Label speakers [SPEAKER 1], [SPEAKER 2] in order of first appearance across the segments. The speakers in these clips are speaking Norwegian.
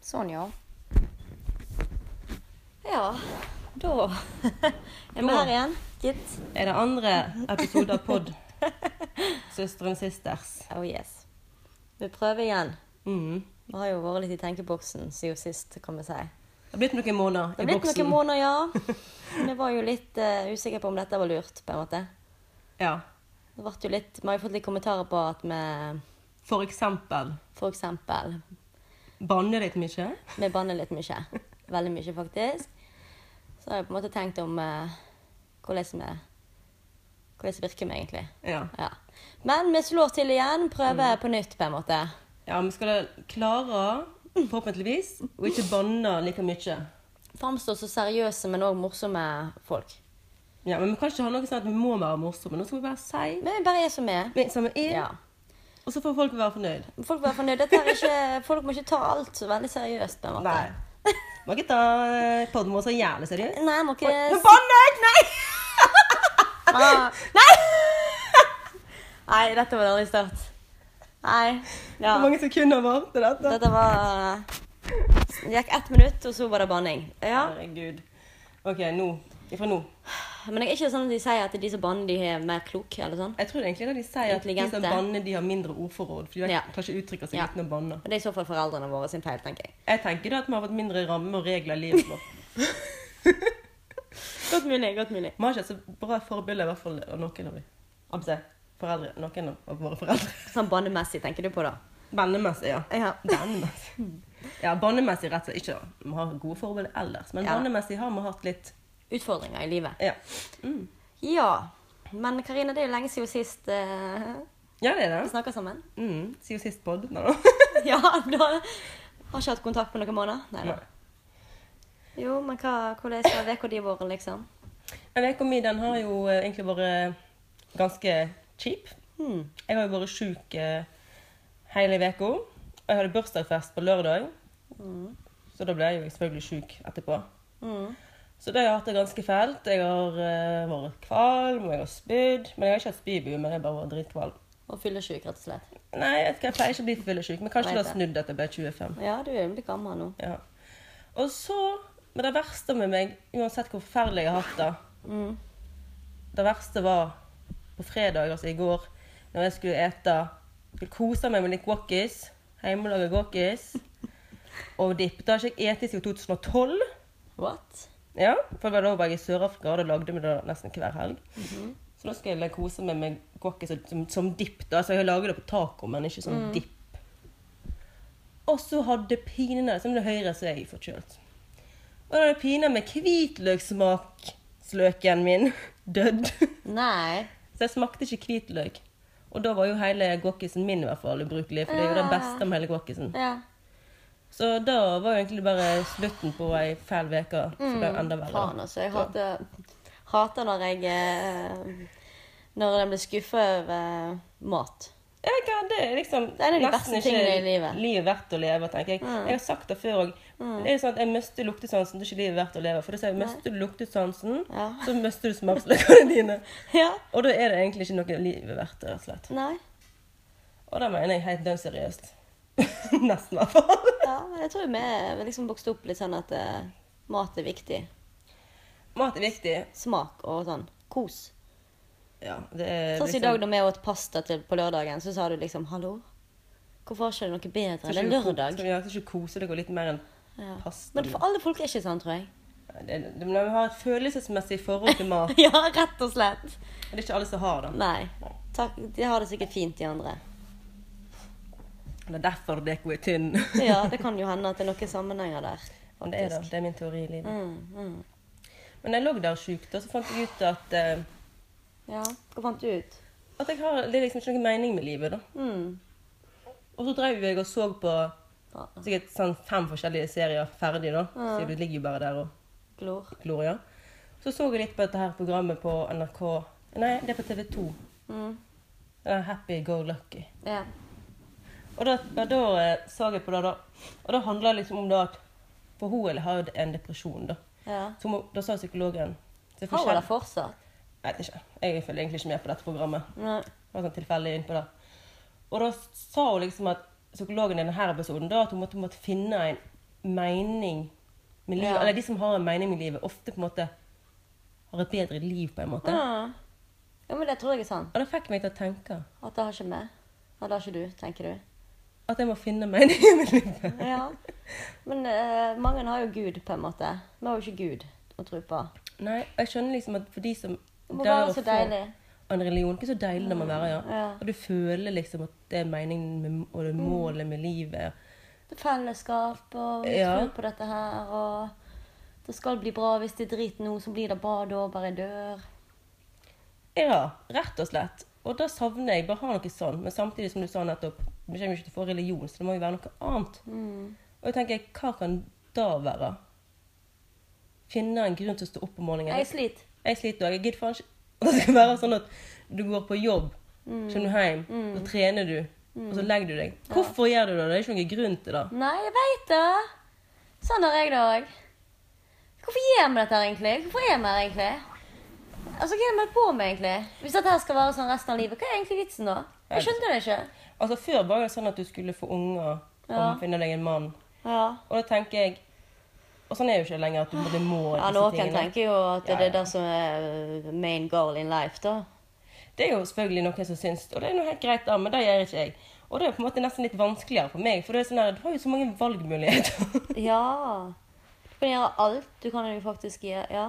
[SPEAKER 1] Sånn, ja.
[SPEAKER 2] Ja, da er vi
[SPEAKER 3] Da.
[SPEAKER 2] her igjen, gitt.
[SPEAKER 3] Er det andre episode av pod? Søsteren Sisters.
[SPEAKER 2] Oh yes. Vi prøver igjen.
[SPEAKER 3] Mm.
[SPEAKER 2] Vi har jo vært litt i tenkeboksen siden sist, kan vi si.
[SPEAKER 3] Det har blitt noen måneder
[SPEAKER 2] Det
[SPEAKER 3] i
[SPEAKER 2] har blitt
[SPEAKER 3] boksen.
[SPEAKER 2] noen måneder, ja. Vi var jo litt eh, usikre på om dette var lurt, på en måte.
[SPEAKER 3] Ja.
[SPEAKER 2] Det ble jo litt, vi har jo fått litt kommentarer på at vi
[SPEAKER 3] For eksempel
[SPEAKER 2] for eksempel
[SPEAKER 3] banne litt mye.
[SPEAKER 2] vi banner litt mye. Veldig mye, faktisk. Så har jeg på en måte tenkt om eh, hvordan vi Hvordan virker vi egentlig?
[SPEAKER 3] Ja.
[SPEAKER 2] Ja. Men vi slår til igjen. Prøver på nytt, på en måte.
[SPEAKER 3] ja, vi skal klare, forhåpentligvis, å ikke banne like mye.
[SPEAKER 2] framstå så seriøse, men òg morsomme folk.
[SPEAKER 3] Ja, men vi kan ikke ha noe sånn at vi må være morsomme. Nå skal vi bare si
[SPEAKER 2] Men vi bare er som vi er.
[SPEAKER 3] vi som vi er,
[SPEAKER 2] Ja.
[SPEAKER 3] og så får folk være fornøyd.
[SPEAKER 2] Folk må være fornøyd. Dette er ikke, folk må ikke ta alt så veldig seriøst. på en måte.
[SPEAKER 3] Må ikke ta eh, podden vår så jævlig seriøst.
[SPEAKER 2] Nei, må ikke
[SPEAKER 3] Men banne jeg! Nei!
[SPEAKER 2] Nei! Nei, dette var en dårlig start. Nei. Ja.
[SPEAKER 3] Hvor mange sekunder var det til dette?
[SPEAKER 2] Dette var Det gikk ett minutt, og så var det banning. Ja.
[SPEAKER 3] Herregud. OK, nå. Ifra nå.
[SPEAKER 2] Men jeg er ikke sånn at de sier at de som banner, de er mer kloke, eller sånn.
[SPEAKER 3] Jeg tror egentlig det de sier at de som
[SPEAKER 2] Intelligente.
[SPEAKER 3] banner, de har mindre ordforråd. For de har-
[SPEAKER 2] Ja.
[SPEAKER 3] kan ikke uttrykke seg
[SPEAKER 2] Ja.
[SPEAKER 3] uten å banne.
[SPEAKER 2] Det er i så fall foreldrene våre sin feil, tenker jeg.
[SPEAKER 3] Jeg tenker da at vi har fått mindre rammer og regler i livet vårt.
[SPEAKER 2] Godt mulig. godt mulig.
[SPEAKER 3] Vi har ikke så bra forbilder, i hvert fall av noen av dem. Altså foreldre. Noen av våre foreldre.
[SPEAKER 2] Sånn bannemessig tenker du på, da.
[SPEAKER 3] Bannemessig, ja.
[SPEAKER 2] Ja.
[SPEAKER 3] Bannemessig. Ja, bannemessig rett og slett ikke. Vi har gode forbilder ellers, men
[SPEAKER 2] Ja.
[SPEAKER 3] bannemessig har vi hatt litt
[SPEAKER 2] Utfordringer i livet.
[SPEAKER 3] Ja, Mm.
[SPEAKER 2] Ja. Men Karina, det er jo lenge siden sist eh,
[SPEAKER 3] ja det
[SPEAKER 2] vi
[SPEAKER 3] er det.
[SPEAKER 2] snakka sammen.
[SPEAKER 3] Mm. Siden sist pod. Nei da.
[SPEAKER 2] ja, da har ikke hatt kontakt på noen måneder. Nei da.
[SPEAKER 3] Nei.
[SPEAKER 2] Jo, men hva, hvordan har uka di vært, liksom?
[SPEAKER 3] En uke mi den har jo eh, egentlig vært ganske kjip. Jeg har jo vært sjuk eh, hele uka. Og jeg hadde bursdagsfest på lørdag, så da ble jeg jo selvfølgelig sjuk etterpå.
[SPEAKER 2] Mm.
[SPEAKER 3] Så det har jeg hatt det ganske fælt. Jeg har eh, vært kvalm, og jeg har spydd. Men jeg har ikke hatt spybu, men jeg bare var dritkvalm.
[SPEAKER 2] Og fyllesyk, rett og slett.
[SPEAKER 3] Nei, jeg, vet ikke, jeg pleier ikke å bli fyllesyk, men kanskje
[SPEAKER 2] Vet
[SPEAKER 3] det har
[SPEAKER 2] det.
[SPEAKER 3] snudd at jeg ble 25.
[SPEAKER 2] Ja, du er jo blitt gammel nå.
[SPEAKER 3] Ja. Og så, men det verste med meg, uansett hvor forferdelig jeg har hatt det
[SPEAKER 2] Mm.
[SPEAKER 3] Det verste var på fredag, altså i går, når jeg skulle ete Skulle kose meg med litt guacis. Hjemmelaga guacis. Og dipp. Det har ikke jeg spist siden 2012.
[SPEAKER 2] What?
[SPEAKER 3] Ja, for det var da var jeg i Sør-Afrika, og da lagde vi det nesten hver helg. Så nå skal jeg kose meg med guacis og- som, som dipp. da. Altså, jeg lager det på taco, men ikke som dipp. Og så hadde pinene Som det høyre så er jeg forkjølt. Og da hadde pina med hvitløkssmaksløken min dødd.
[SPEAKER 2] Nei.
[SPEAKER 3] Så jeg smakte ikke hvitløk. Og da var jo hele guacisen min i hvert fall ubrukelig, for det er jo det beste med hele guacisen.
[SPEAKER 2] Ja.
[SPEAKER 3] Så da var jo egentlig bare slutten på ei fæl uke. Så ble det enda verre.
[SPEAKER 2] Faen, altså. Jeg hater, hater når jeg eh, Når jeg blir skuffa over eh, mat.
[SPEAKER 3] Jeg vet ikke, det er liksom
[SPEAKER 2] Det er en av de
[SPEAKER 3] nesten
[SPEAKER 2] verste
[SPEAKER 3] ikke
[SPEAKER 2] tingene i livet. Mm.
[SPEAKER 3] verdt å leve, tenker jeg. Jeg har sagt det før òg. Det er sånn at jeg mister luktesansen, det er ikke livet verdt å leve. For det sier jeg, mister du luktesansen,
[SPEAKER 2] Ja.
[SPEAKER 3] så mister du smaksløkene dine.
[SPEAKER 2] Ja.
[SPEAKER 3] Og da er det egentlig ikke noe livet verdt, rett og slett.
[SPEAKER 2] Nei.
[SPEAKER 3] Og det mener jeg helt dønn seriøst. nesten, i hvert fall.
[SPEAKER 2] Ja, men jeg tror vi er liksom vokste opp litt sånn at eh, mat er viktig.
[SPEAKER 3] Mat er viktig.
[SPEAKER 2] Smak og sånn. Kos.
[SPEAKER 3] Ja, det er liksom
[SPEAKER 2] Sånn som i dag da vi åt pasta til, på lørdagen, så sa du liksom 'hallo'. Hvorfor har ikke det noe bedre? Det er lørdag.
[SPEAKER 3] Ja, skal ikke kose deg og litt mer enn
[SPEAKER 2] Ja.
[SPEAKER 3] pasta.
[SPEAKER 2] Men for alle folk er ikke sånn, tror jeg.
[SPEAKER 3] det, det, men vi har et følelsesmessig forhold til mat.
[SPEAKER 2] ja, rett og slett.
[SPEAKER 3] Det er ikke alle som har det.
[SPEAKER 2] Nei. Takk, de har det sikkert fint, de andre.
[SPEAKER 3] Det er derfor deko er tynn.
[SPEAKER 2] Ja, det kan jo hende at det er noen sammenhenger der.
[SPEAKER 3] Og det er det.
[SPEAKER 2] faktisk.
[SPEAKER 3] Det er min teori i livet.
[SPEAKER 2] Mm, mm.
[SPEAKER 3] Men jeg lå der sjukt, og så fant jeg ut at eh,
[SPEAKER 2] Ja, hva fant du ut?
[SPEAKER 3] at jeg har, det er liksom ikke noen mening med livet. da.
[SPEAKER 2] Mm.
[SPEAKER 3] Og så drev jeg og så på
[SPEAKER 2] Ja,
[SPEAKER 3] sikkert sånn fem forskjellige serier ferdig, da. Så du ligger jo bare der og
[SPEAKER 2] Glor.
[SPEAKER 3] glor, ja. Så så jeg litt på dette her programmet på NRK Nei, det er på TV 2.
[SPEAKER 2] Mm.
[SPEAKER 3] Happy Go Lucky.
[SPEAKER 2] Ja.
[SPEAKER 3] Og da, da, da eh, så jeg på det, da. Og det handler liksom om det at For hun eller har jo en depresjon, da.
[SPEAKER 2] ja.
[SPEAKER 3] Så hun, da sa psykologen så
[SPEAKER 2] Har hun det
[SPEAKER 3] forskjell-
[SPEAKER 2] fortsatt?
[SPEAKER 3] Jeg vet ikke. Jeg følger egentlig ikke med på dette programmet.
[SPEAKER 2] Nei.
[SPEAKER 3] Jeg var sånn tilfeldig inn på det. Og da sa hun liksom at psykologen i denne episoden da at hun måtte, måtte finne en mening med livet,
[SPEAKER 2] Ja.
[SPEAKER 3] eller de som har en mening med livet, ofte på en måte har et bedre liv, på en måte.
[SPEAKER 2] Ja. ja, men det tror jeg er sant.
[SPEAKER 3] Og det fikk meg til å tenke
[SPEAKER 2] At det har ikke vi. Ja, det har ikke du, tenker du.
[SPEAKER 3] at jeg må finne meningen med livet.
[SPEAKER 2] Ja. Men eh, mange har jo Gud, på en måte. Vi har jo ikke Gud å tro på.
[SPEAKER 3] Nei, og jeg skjønner liksom at for de som
[SPEAKER 2] Det må
[SPEAKER 3] dør
[SPEAKER 2] være så
[SPEAKER 3] og får
[SPEAKER 2] deilig.
[SPEAKER 3] en religion, ikke så deilig det må være, Mm, ja. Mm.
[SPEAKER 2] Ja.
[SPEAKER 3] Og du føler liksom at det er meningen med, og det er målet med livet.
[SPEAKER 2] Fellesskap og vi
[SPEAKER 3] Ja.
[SPEAKER 2] tror på dette her og det skal bli bra. Hvis det er drit nå, så blir det bra da, bare jeg dør.
[SPEAKER 3] Ja, rett og slett. Og da savner jeg bare å ha noe sånn, men samtidig som du sa nettopp, vi kommer jo ikke til å få religion, så det må jo være noe annet.
[SPEAKER 2] Mm.
[SPEAKER 3] Og jeg tenker, hva kan da være? Finne en grunn til å stå opp om morgenen.
[SPEAKER 2] Jeg sliter.
[SPEAKER 3] Jeg sliter òg. Jeg gidder faen ikke at det skal være sånn at du går på jobb,
[SPEAKER 2] Mm.
[SPEAKER 3] kommer du hjem, så trener du, og så legger du deg. Hvorfor gjør du det? Det er ikke noen grunn til det.
[SPEAKER 2] Nei, jeg veit det. Sånn har jeg det òg. Hvorfor gjør vi dette her egentlig? Hvorfor er vi her egentlig? Altså, Hva er det vi holder på med egentlig? Hvis dette her skal være sånn resten av livet, hva er egentlig vitsen da? Jeg skjønner det ikke.
[SPEAKER 3] Altså Før var det sånn at du skulle få unger og
[SPEAKER 2] Ja.
[SPEAKER 3] finne deg en mann.
[SPEAKER 2] Ja,
[SPEAKER 3] Og da tenker jeg Og sånn er det jo ikke lenger at du både må
[SPEAKER 2] Ah. ja
[SPEAKER 3] disse
[SPEAKER 2] Noen
[SPEAKER 3] tingene.
[SPEAKER 2] tenker jo at
[SPEAKER 3] Ja,
[SPEAKER 2] det er
[SPEAKER 3] ja.
[SPEAKER 2] det som er main goal in life, da.
[SPEAKER 3] Det er jo selvfølgelig noen som syns Og det er noe helt greit, da, men det gjør ikke jeg. Og det er på en måte nesten litt vanskeligere for meg, for det er sånn her, du har jo så mange valgmuligheter.
[SPEAKER 2] Ja. Du kan gjøre alt. Du kan jo faktisk gjøre Ja.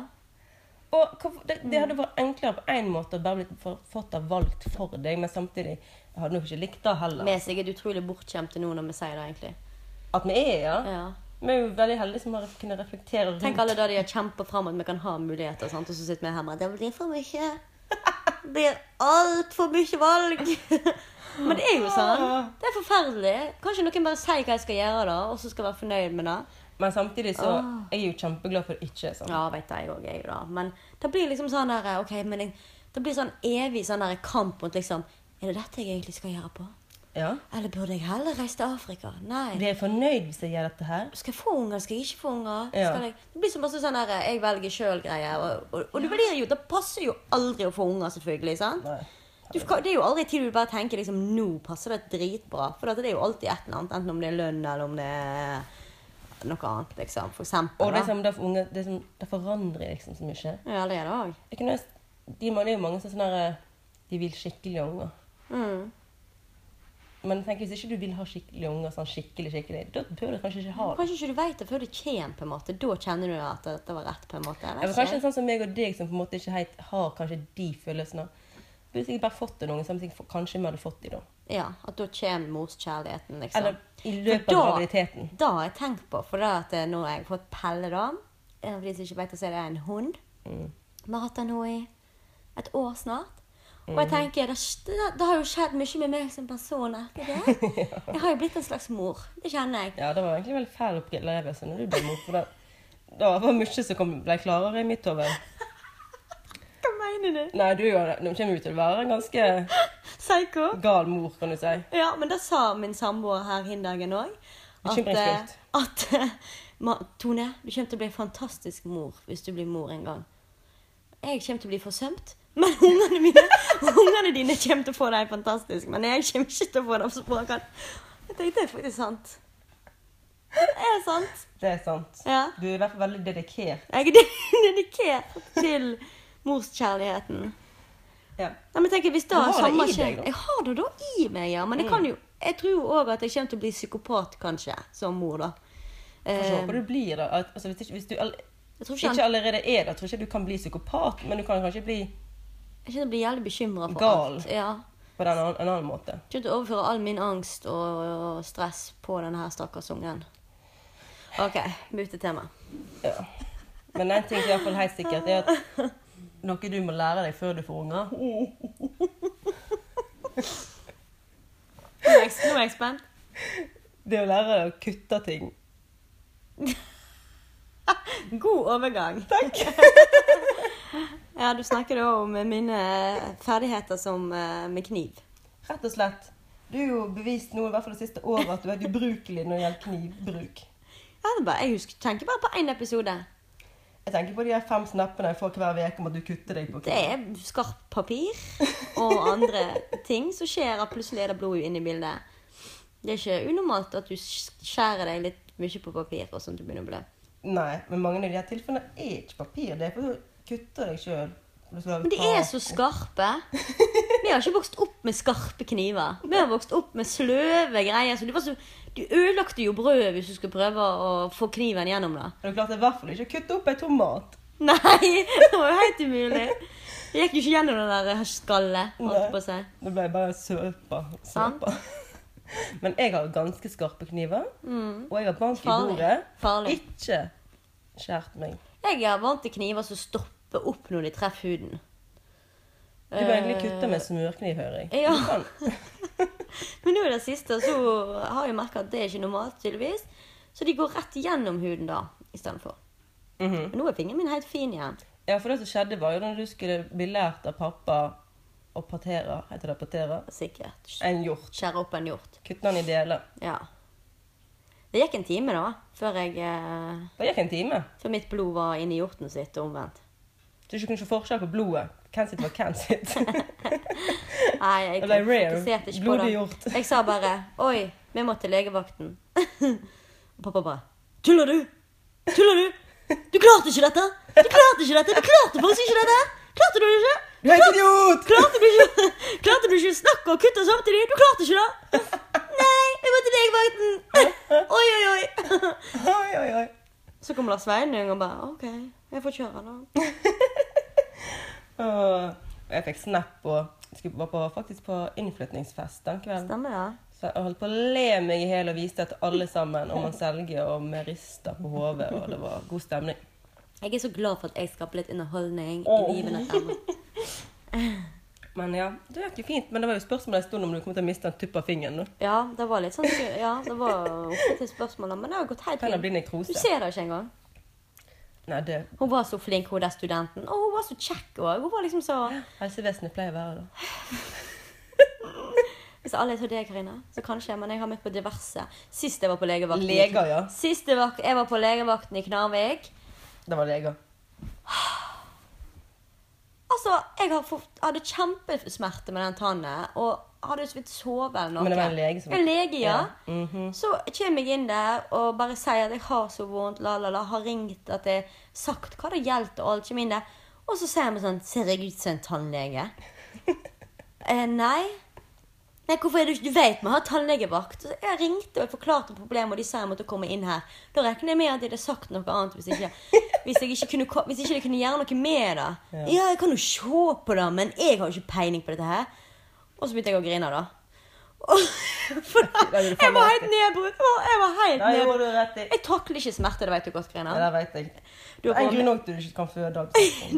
[SPEAKER 3] Og hvorfor- det, det hadde vært enklere på én en måte å bare blitt for, fått det valgt for deg, men samtidig jeg hadde nok ikke likt det heller.
[SPEAKER 2] Vi er sikkert utrolig bortskjemte nå når vi sier det, egentlig.
[SPEAKER 3] At vi er, ja.
[SPEAKER 2] Ja.
[SPEAKER 3] Vi er jo veldig heldige som har kunnet reflektere rundt
[SPEAKER 2] Tenk alle da de har kjempet fram at vi kan ha muligheter, sant? og så sitter vi her med Det blir for mye. Det blir altfor mye valg. Men det er jo sånn. Det er forferdelig. Kanskje noen bare sier hva jeg skal gjøre, da, og så skal jeg være fornøyd med det.
[SPEAKER 3] Men samtidig så jeg er jo kjempeglad for det ikke er sånn.
[SPEAKER 2] Ah. Ja, vet du, jeg òg er jo det. Men det blir liksom sånn der OK, men jeg, det blir sånn evig sånn der kamp mot liksom Er det dette jeg egentlig skal gjøre på?
[SPEAKER 3] Ja.
[SPEAKER 2] Eller burde jeg heller reise til Afrika? Nei.
[SPEAKER 3] Blir jeg fornøyd hvis jeg gjør dette her?
[SPEAKER 2] Skal jeg få unger? Skal jeg ikke få unger?
[SPEAKER 3] Ja.
[SPEAKER 2] Skal jeg... Det blir så masse sånn der, jeg velger sjøl-greier. Og, og, og du vurderer jo Det passer jo aldri å få unger, selvfølgelig. sant?
[SPEAKER 3] Nei.
[SPEAKER 2] Du, kan- det er jo aldri tid du bare tenker liksom, nå passer det dritbra. For det er jo alltid et eller annet, enten om det er lønn eller om det er noe annet. liksom, For eksempel.
[SPEAKER 3] Og det,
[SPEAKER 2] da.
[SPEAKER 3] som, det, for unge, det, som, det forandrer liksom så mye.
[SPEAKER 2] Ja, det er det òg.
[SPEAKER 3] Jeg kunne, de, det er jo mange som er sånn her eh, De vil skikkelig ha unger.
[SPEAKER 2] Mm.
[SPEAKER 3] Men tenk, hvis ikke du vil ha skikkelig unger, sånn skikkelig, skikkelig, da bør du kanskje ikke ha det.
[SPEAKER 2] Kanskje ikke du veit det før det kommer, på en måte. Da kjenner du at det- det var rett, på en måte. Jeg
[SPEAKER 3] Det
[SPEAKER 2] vet
[SPEAKER 3] var kanskje
[SPEAKER 2] ikke.
[SPEAKER 3] en sånn som meg og deg, som på en måte ikke helt har kanskje de følelsene. Du burde sikkert bare fått en unge, samtidig som kanskje vi hadde fått de da.
[SPEAKER 2] Ja, At da kommer morskjærligheten, liksom.
[SPEAKER 3] Eller i løpet
[SPEAKER 2] For
[SPEAKER 3] av
[SPEAKER 2] da-
[SPEAKER 3] graviditeten.
[SPEAKER 2] Det har jeg tenkt på, for det at eh, nå har jeg fått Pelle, da. Eh, For de som ikke vet, så er det en hund.
[SPEAKER 3] Mm.
[SPEAKER 2] Vi har hatt den nå i et år snart. Og
[SPEAKER 3] Mm.
[SPEAKER 2] jeg tenker, det, det, det har jo skjedd mye med meg som person etter det. Jeg har jo blitt en slags mor. Det kjenner jeg.
[SPEAKER 3] Ja, det var egentlig veldig fæl opplevelse når du ble mor. For det, det var mye som kom, ble klarere i mitt hode.
[SPEAKER 2] Hva mener du?
[SPEAKER 3] Nei, du er jo- nå kommer du til å være en ganske
[SPEAKER 2] Psycho?
[SPEAKER 3] gal mor, kan du si.
[SPEAKER 2] Ja, men det sa min samboer her hin dagen òg.
[SPEAKER 3] Bekymringsfullt.
[SPEAKER 2] At, eh, ma- Tone, du kommer til å bli en fantastisk mor hvis du blir mor en gang. Jeg kommer til å bli forsømt, men ungene mine Ungene dine kommer til å få deg fantastisk. Men jeg kommer ikke til å få dem så bra. kan- Jeg tenkte det er faktisk sant. Er det sant?
[SPEAKER 3] Det er sant.
[SPEAKER 2] Ja.
[SPEAKER 3] Du er i hvert fall veldig dedikert.
[SPEAKER 2] Jeg er dedikert til morskjærligheten.
[SPEAKER 3] Ja.
[SPEAKER 2] Nei, men tenk, hvis da
[SPEAKER 3] Du har det
[SPEAKER 2] samme
[SPEAKER 3] i
[SPEAKER 2] skjer
[SPEAKER 3] deg, da.
[SPEAKER 2] Jeg har det da Mm. i meg, ja. Men jeg kan jo Jeg tror jo òg at jeg kommer til å bli psykopat, kanskje, som mor, da.
[SPEAKER 3] Jeg
[SPEAKER 2] Eh,
[SPEAKER 3] håper du blir det. At- Altså, hvis, ikke, hvis du all,
[SPEAKER 2] jeg tror ikke
[SPEAKER 3] ikke
[SPEAKER 2] han
[SPEAKER 3] allerede er det, tror jeg ikke du kan bli psykopat, men du kan kanskje bli
[SPEAKER 2] Jeg kjenner jeg blir jævlig bekymra for
[SPEAKER 3] Gal.
[SPEAKER 2] alt. Ja.
[SPEAKER 3] på den annen, en annen måte.
[SPEAKER 2] Jeg kommer til å overføre all min angst og, og stress på denne her stakkars ungen. OK, mutetema.
[SPEAKER 3] Ja. Men en ting som er i hvert fall helt sikkert, er at noe du må lære deg før du får unger.
[SPEAKER 2] Nå er jeg- nå er jeg spent.
[SPEAKER 3] Det er å lære deg å kutte ting.
[SPEAKER 2] God overgang. Takk. ja, du snakker da om mine ferdigheter som eh, med kniv.
[SPEAKER 3] Rett og slett. Du er jo bevist nå i hvert fall det siste året at du er helt ubrukelig når det gjelder knivbruk.
[SPEAKER 2] Ja, det er bare, jeg husker, tenker bare på én episode.
[SPEAKER 3] Jeg tenker på de her fem snappene jeg får hver uke om at du kutter deg på
[SPEAKER 2] Det er skarpt papir og andre ting som skjer. at Plutselig er det blod inne i bildet. Det er ikke unormalt at du skjærer deg litt mye på papir og sånn til å begynne med.
[SPEAKER 3] Nei, men mange av de her tilfellene er ikke papir. Det er for du kutter deg sjøl.
[SPEAKER 2] Men de er så skarpe. Vi har ikke vokst opp med skarpe kniver. Vi har vokst opp med sløve greier. Så det var så, du ødelagte jo brødet hvis du skulle prøve å få kniven gjennom det.
[SPEAKER 3] Er du klart det er i hvert fall ikke å kutte opp en tomat?
[SPEAKER 2] Nei, det var jo helt umulig. Det gikk jo ikke gjennom det der skallet. holdt jeg på å si.
[SPEAKER 3] Det ble bare søpa.
[SPEAKER 2] Sant.
[SPEAKER 3] søpa. Men jeg har ganske skarpe kniver,
[SPEAKER 2] Mm.
[SPEAKER 3] og jeg har bank i
[SPEAKER 2] Farlig.
[SPEAKER 3] bordet.
[SPEAKER 2] Farlig.
[SPEAKER 3] Ikke skjært meg.
[SPEAKER 2] Jeg er vant til kniver som stopper opp når de treffer huden.
[SPEAKER 3] Du kan egentlig kutte med smørkniv, hører jeg.
[SPEAKER 2] Eh, Ja.
[SPEAKER 3] Du kan.
[SPEAKER 2] Eh, Men nå i det siste så har jeg merka at det er ikke normalt, tydeligvis. Så de går rett gjennom huden da, istedenfor.
[SPEAKER 3] Mhm.
[SPEAKER 2] Men nå er fingeren min helt fin igjen.
[SPEAKER 3] Ja, for det som skjedde, var jo når du skulle bli lært av pappa å partere, heter det partere,
[SPEAKER 2] Sikkert.
[SPEAKER 3] en hjort.
[SPEAKER 2] Skjære opp en hjort.
[SPEAKER 3] Kutte den i deler.
[SPEAKER 2] Ja. Det gikk en time, da, før, jeg, eh,
[SPEAKER 3] Det gikk en time.
[SPEAKER 2] før mitt blod var inni hjorten sitt, og omvendt.
[SPEAKER 3] Så du kunne ikke forskjell på blodet. Hvem sitt var hvem sitt.
[SPEAKER 2] Nei, jeg
[SPEAKER 3] Det ble rare.
[SPEAKER 2] fokuserte ikke på
[SPEAKER 3] Blodig
[SPEAKER 2] det.
[SPEAKER 3] hjort.
[SPEAKER 2] Jeg sa bare 'oi, vi må til legevakten'. Og pappa bare 'tuller du? Tuller du? Du klarte ikke dette! Du klarte ikke dette! Du klarte faktisk ikke dette! Klarte du det ikke?
[SPEAKER 3] Du er en idiot!
[SPEAKER 2] Klarte du ikke Klarte du ikke å snakke og kutte samtidig? Du klarte ikke det! Nei, jeg må til legevakten! Oi, oi, oi!
[SPEAKER 3] Oi, oi, oi.
[SPEAKER 2] Så kom Lars Sveinung og bare 'OK, jeg får kjøre nå'.
[SPEAKER 3] Åh, Og jeg fikk snap og skulle- var på, faktisk på innflytningsfest den kvelden.
[SPEAKER 2] Stemmer det?
[SPEAKER 3] Så jeg holdt på å le meg i hjel og viste til alle sammen om han selger og med rister på hodet, og det var god stemning.
[SPEAKER 2] Jeg er så glad for at jeg skaper litt underholdning i
[SPEAKER 3] Åh.
[SPEAKER 2] livene fremover.
[SPEAKER 3] Men ja, det gikk jo fint. Men det var jo spørsmålet en stund om du kom til å miste en tupp av fingeren. nå.
[SPEAKER 2] Ja, det var litt sånn Ja, det var oppe til spørsmålet, men det har gått helt
[SPEAKER 3] Kan det bli
[SPEAKER 2] fint. Du
[SPEAKER 3] nekrose?
[SPEAKER 2] ser det ikke engang.
[SPEAKER 3] Nei, det
[SPEAKER 2] Hun var så flink, hun der studenten. Og hun var så kjekk òg. Hun var liksom så
[SPEAKER 3] Helsevesenet pleier å være det.
[SPEAKER 2] Hvis alle er så deg, Karina, så kanskje. Men jeg har møtt på diverse. Sist jeg var på legevakten
[SPEAKER 3] Leger, ja.
[SPEAKER 2] Sist jeg var, jeg var på legevakten i Knarvik
[SPEAKER 3] Det var leger.
[SPEAKER 2] Altså, jeg har fått, hadde kjempesmerter med den tannen. Og hadde jo så vidt sovet eller noe.
[SPEAKER 3] Men det var en lege som
[SPEAKER 2] En lege, ja.
[SPEAKER 3] Mhm.
[SPEAKER 2] Så kommer jeg inn der og bare sier at jeg har så vondt, la, la, la. Har ringt, at jeg har sagt hva det gjelder og alt. Kommer inn der. Og så sier han meg sånn Ser jeg ut som en tannlege? eh, nei. Nei, hvorfor er du ikke Du vet vi har tannlegevakt. Så jeg ringte og jeg forklarte problemet, og de sa jeg måtte komme inn her. Da regner jeg med at de hadde sagt noe annet hvis ikke, hvis jeg ikke, kunne, ko- hvis ikke de kunne gjøre noe med det.
[SPEAKER 3] Ja.
[SPEAKER 2] Ja. jeg kan jo se på det, men jeg har jo ikke peiling på dette her. Og så begynte jeg å grine, da. Og, for da,
[SPEAKER 3] Ja, du får
[SPEAKER 2] jeg var
[SPEAKER 3] rett
[SPEAKER 2] helt
[SPEAKER 3] i.
[SPEAKER 2] nedbrutt. Å, Jeg var helt
[SPEAKER 3] Nei, gjorde
[SPEAKER 2] nedbrutt.
[SPEAKER 3] du rett i.
[SPEAKER 2] Jeg takler ikke smerte, det vet du godt,
[SPEAKER 3] Ja,
[SPEAKER 2] Grena.
[SPEAKER 3] det vet jeg.
[SPEAKER 2] Du har
[SPEAKER 3] en
[SPEAKER 2] vært
[SPEAKER 3] grunn
[SPEAKER 2] med-
[SPEAKER 3] òg til du ikke kan føde. altså.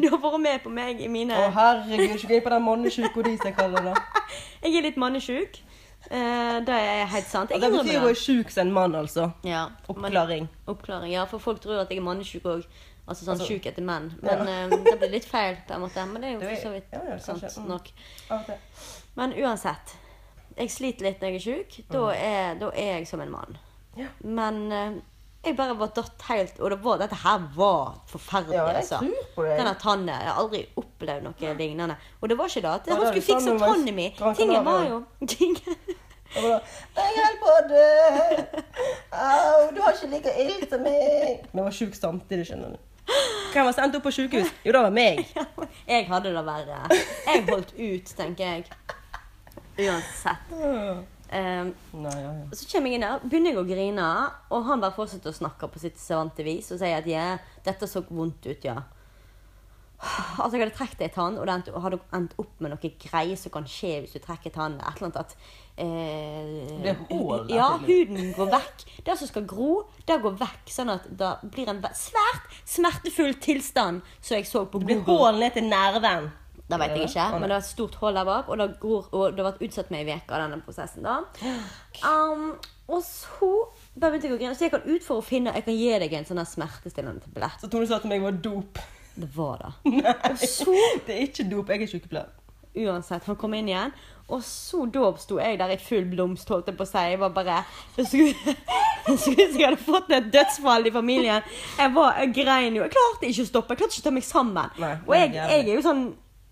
[SPEAKER 2] Du har vært med på meg i mine
[SPEAKER 3] Å, herregud, ikke gå inn på den mannesjuka di, som jeg kaller det.
[SPEAKER 2] Eh. Jeg er litt mannesjuk. Eh, det er helt sant.
[SPEAKER 3] Og
[SPEAKER 2] Jeg
[SPEAKER 3] Altså, det betyr
[SPEAKER 2] innrømmer
[SPEAKER 3] jo
[SPEAKER 2] det.
[SPEAKER 3] sjuk som en mann, altså.
[SPEAKER 2] Ja, men-
[SPEAKER 3] Oppklaring.
[SPEAKER 2] Oppklaring, ja. For folk tror at jeg er mannesjuk òg. Altså sånn
[SPEAKER 3] Altså-
[SPEAKER 2] sjuk etter menn.
[SPEAKER 3] Ja.
[SPEAKER 2] Men eh, det blir litt feil, på en måte. Men det er jo
[SPEAKER 3] Du er-
[SPEAKER 2] for så vidt
[SPEAKER 3] ja, ja,
[SPEAKER 2] sant
[SPEAKER 3] kanskje, mm.
[SPEAKER 2] nok.
[SPEAKER 3] Av og til.
[SPEAKER 2] Men uansett. Jeg sliter litt når jeg er sjuk. Da, er- da er jeg som en mann.
[SPEAKER 3] Mm. Ja.
[SPEAKER 2] Men eh, jeg bare var datt helt Og det var, dette her var forferdelig,
[SPEAKER 3] Ja, jeg
[SPEAKER 2] altså.
[SPEAKER 3] tror på deg.
[SPEAKER 2] Denne tannen. eh, Jeg har aldri opplevd noe lignende. Og det var ikke det at
[SPEAKER 3] Ja,
[SPEAKER 2] han
[SPEAKER 3] det er
[SPEAKER 2] skulle
[SPEAKER 3] det
[SPEAKER 2] fikse
[SPEAKER 3] samme med
[SPEAKER 2] tannen min.
[SPEAKER 3] Gran
[SPEAKER 2] Tingen var
[SPEAKER 3] Canaria.
[SPEAKER 2] jo tingen,
[SPEAKER 3] Og da, Jeg holder på å dø! Au, du har ikke like ild som meg! Vi var sjuke samtidig, skjønner du. Hvem var sendt opp på sjukehus? Jo, det var meg.
[SPEAKER 2] Jeg hadde det verre. Jeg holdt ut, tenker jeg. Uansett. Um,
[SPEAKER 3] Nei, ja, ja.
[SPEAKER 2] så kommer jeg inn der, begynner jeg å grine, og han bare fortsetter å snakke på sitt savante vis og sier at ja, dette så vondt ut, ja. Altså, jeg hadde trukket ei tann, og det endte- hadde endt opp med noe greier som kan skje hvis du trekker tann. Et eller annet at eh,
[SPEAKER 3] Det er hål der,
[SPEAKER 2] Ja,
[SPEAKER 3] tydeligvis.
[SPEAKER 2] huden går vekk. Det som skal gro, det går vekk. Sånn at det blir en ve- svært smertefull tilstand, som jeg så på
[SPEAKER 3] Det blir
[SPEAKER 2] Google.
[SPEAKER 3] hull ned til nerven.
[SPEAKER 2] Det vet jeg ikke,
[SPEAKER 3] Å, nei.
[SPEAKER 2] men det var et stort hull der bak, og det, gror, og det har vært utsatt meg i veka denne prosessen. da. Um, og så bare begynte jeg å grine, så jeg kan ut for å finne Jeg kan gi deg en sånn her smertestillende tablett.
[SPEAKER 3] Så Tone sa til meg var dop.
[SPEAKER 2] Det var det.
[SPEAKER 3] Nei,
[SPEAKER 2] Og så,
[SPEAKER 3] det er ikke dop. Jeg er sykepleier.
[SPEAKER 2] uansett, han kom inn igjen, og så da sto jeg der i full blomst, holdt jeg på å si. Jeg var bare Jeg skulle jeg skulle ønske jeg hadde fått et dødsfall i familien. Jeg var, jeg grein jo. Jeg klarte ikke å stoppe. Jeg klarte ikke å ta meg sammen.
[SPEAKER 3] Nei,
[SPEAKER 2] og jeg,
[SPEAKER 3] det er jævlig.
[SPEAKER 2] jeg er jo sånn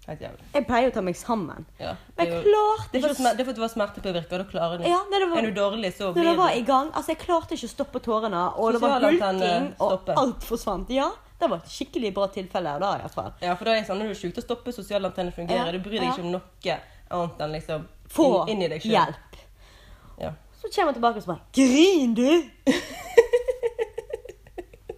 [SPEAKER 3] Helt jævlig.
[SPEAKER 2] Jeg pleier å ta meg sammen.
[SPEAKER 3] Ja.
[SPEAKER 2] Men
[SPEAKER 3] det er
[SPEAKER 2] jeg
[SPEAKER 3] jo-
[SPEAKER 2] klarte
[SPEAKER 3] Det er
[SPEAKER 2] ikke
[SPEAKER 3] for
[SPEAKER 2] å
[SPEAKER 3] smer- det er for at du har smertepåvirker, da klarer du
[SPEAKER 2] Ja, nei, det var-
[SPEAKER 3] Er du dårlig, så
[SPEAKER 2] Når
[SPEAKER 3] blir
[SPEAKER 2] det var i
[SPEAKER 3] du
[SPEAKER 2] gang, altså jeg klarte ikke å stoppe tårene, og det var
[SPEAKER 3] Sosialantenne
[SPEAKER 2] hulking, og
[SPEAKER 3] stopper.
[SPEAKER 2] alt forsvant. Ja, det var et skikkelig bra tilfelle da, i hvert fall.
[SPEAKER 3] Ja, for da er det sånn når du er sjuk, da stopper sosialantennene
[SPEAKER 2] Ja,
[SPEAKER 3] fungerer. Du bryr deg
[SPEAKER 2] ja.
[SPEAKER 3] ikke om noe annet enn liksom
[SPEAKER 2] Få
[SPEAKER 3] inn, inn i deg selv.
[SPEAKER 2] hjelp.
[SPEAKER 3] Ja.
[SPEAKER 2] Så kommer jeg tilbake og så bare, grin du?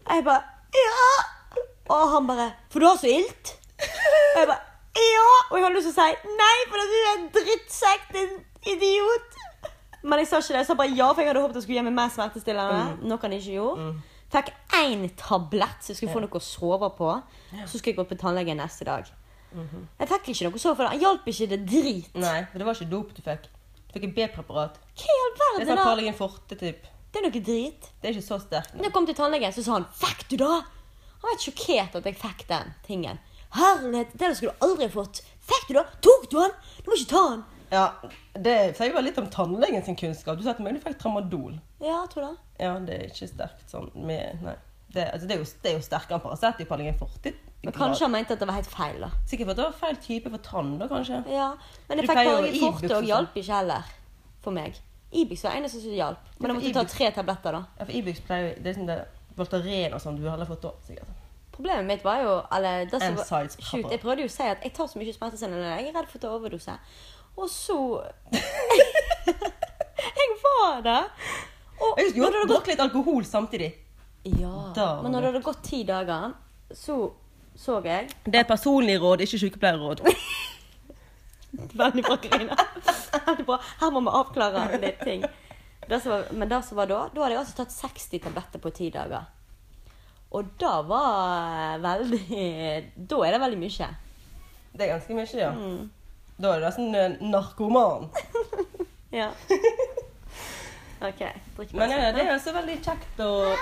[SPEAKER 2] jeg bare, ja! Og han bare, for du har så ilt? Og jeg bare, ja! Og jeg hadde lyst til å si, nei, for du er en drittsekk, din idiot! Men jeg sa ikke det, jeg sa bare ja, for jeg hadde håpet jeg skulle gi meg mer smertestillende. Noe han ikke gjorde. Fikk én tablett, så jeg skulle få noe å sove på. Så skulle jeg gå på tannlegen neste dag. Jeg fikk ikke noe å sove for, han hjalp ikke det drit.
[SPEAKER 3] Nei, for det var ikke dop du fikk. Du fikk et B-preparat.
[SPEAKER 2] Hva i all
[SPEAKER 3] Det er
[SPEAKER 2] verden
[SPEAKER 3] sånn
[SPEAKER 2] da?
[SPEAKER 3] Parlegen Forte, typ.
[SPEAKER 2] Det er noe drit.
[SPEAKER 3] Det er ikke så sterkt.
[SPEAKER 2] Når jeg kom til tannlegen, så sa han 'fikk du da?' Han var helt sjokkert at jeg fikk den tingen. Herlighet, den skulle du aldri fått. Fikk du da? Tok du den? Du må ikke ta den.
[SPEAKER 3] Ja, det sier jo bare litt om tannlegen sin kunnskap. Du sa til meg du fikk tramadol.
[SPEAKER 2] Ja, jeg tror det.
[SPEAKER 3] Ja, det er ikke sterkt sånn med Nei. Det, altså, det, er, jo, det er jo sterkere enn Paracet i Parlegen Forte.
[SPEAKER 2] Men kanskje han mente at det var helt feil, da.
[SPEAKER 3] Sikkert for at det var feil type for tann, da, kanskje.
[SPEAKER 2] Ja, Men jeg
[SPEAKER 3] Du
[SPEAKER 2] fikk
[SPEAKER 3] pleier
[SPEAKER 2] bare
[SPEAKER 3] å-
[SPEAKER 2] i fortet,
[SPEAKER 3] Ibux og
[SPEAKER 2] og hjalp ikke heller. For meg. Ibix var det eneste som hjalp. Men jeg
[SPEAKER 3] Ja, for
[SPEAKER 2] måtte ta
[SPEAKER 3] Ibux-
[SPEAKER 2] tre tabletter, da.
[SPEAKER 3] Ja, for Ibux pleier jo Det er sånn det Voltaren og sånn du heller fått da, sikkert.
[SPEAKER 2] Problemet mitt var jo eller, det som
[SPEAKER 3] En
[SPEAKER 2] var,
[SPEAKER 3] size
[SPEAKER 2] Shoot,
[SPEAKER 3] pepper.
[SPEAKER 2] Jeg prøvde jo å si at jeg tar så mye smertestillende, jeg er redd for å ta overdose. Og så Jeg var det. Og når det
[SPEAKER 3] Jeg har
[SPEAKER 2] hadde gått
[SPEAKER 3] drukket litt alkohol samtidig.
[SPEAKER 2] Ja.
[SPEAKER 3] Da var
[SPEAKER 2] Men når
[SPEAKER 3] det.
[SPEAKER 2] det hadde gått ti dager, så så jeg
[SPEAKER 3] Det er et personlig råd, ikke sykepleierråd.
[SPEAKER 2] Veldig bra, Karina. Veldig bra. Her må vi avklare litt ting. Det som var, men det som var da, da hadde jeg altså tatt 60 tabletter på ti dager. Og da var veldig Da er det veldig mye.
[SPEAKER 3] Det er ganske mye, ja. Da er du nesten eh, narkoman.
[SPEAKER 2] Ja. OK. Drikk
[SPEAKER 3] Men ja, det er altså veldig kjekt å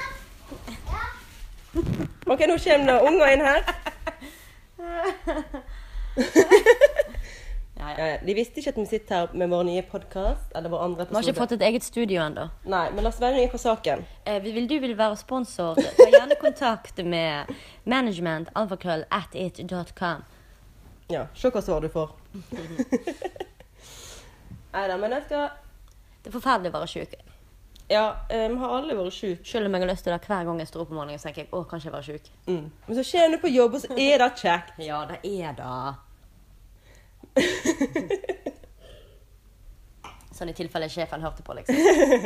[SPEAKER 3] OK, nå kommer det unger inn her.
[SPEAKER 2] Ja, ja.
[SPEAKER 3] Ja, ja. De visste ikke at vi sitter her med vår nye podkast. Eller vår andre
[SPEAKER 2] Vi har
[SPEAKER 3] episode.
[SPEAKER 2] ikke fått et eget studio ennå.
[SPEAKER 3] Nei, men la oss være nye på saken.
[SPEAKER 2] Eh, vil du vil være sponsor, ta gjerne kontakt med management alfakrøll at it.com.
[SPEAKER 3] Ja, Se hva svar du får. Nei da, men jeg skal
[SPEAKER 2] Det er forferdelig å være sjuk.
[SPEAKER 3] Ja, eh, vi har alle vært sjuke.
[SPEAKER 2] Selv om jeg har lyst til det hver gang jeg står opp om morgenen, så tenker jeg å, kanskje jeg var sjuk.
[SPEAKER 3] Mm. Men så kommer du på jobb, og så er det kjekt.
[SPEAKER 2] Ja, det er det. sånn i tilfelle sjefen hørte på, liksom.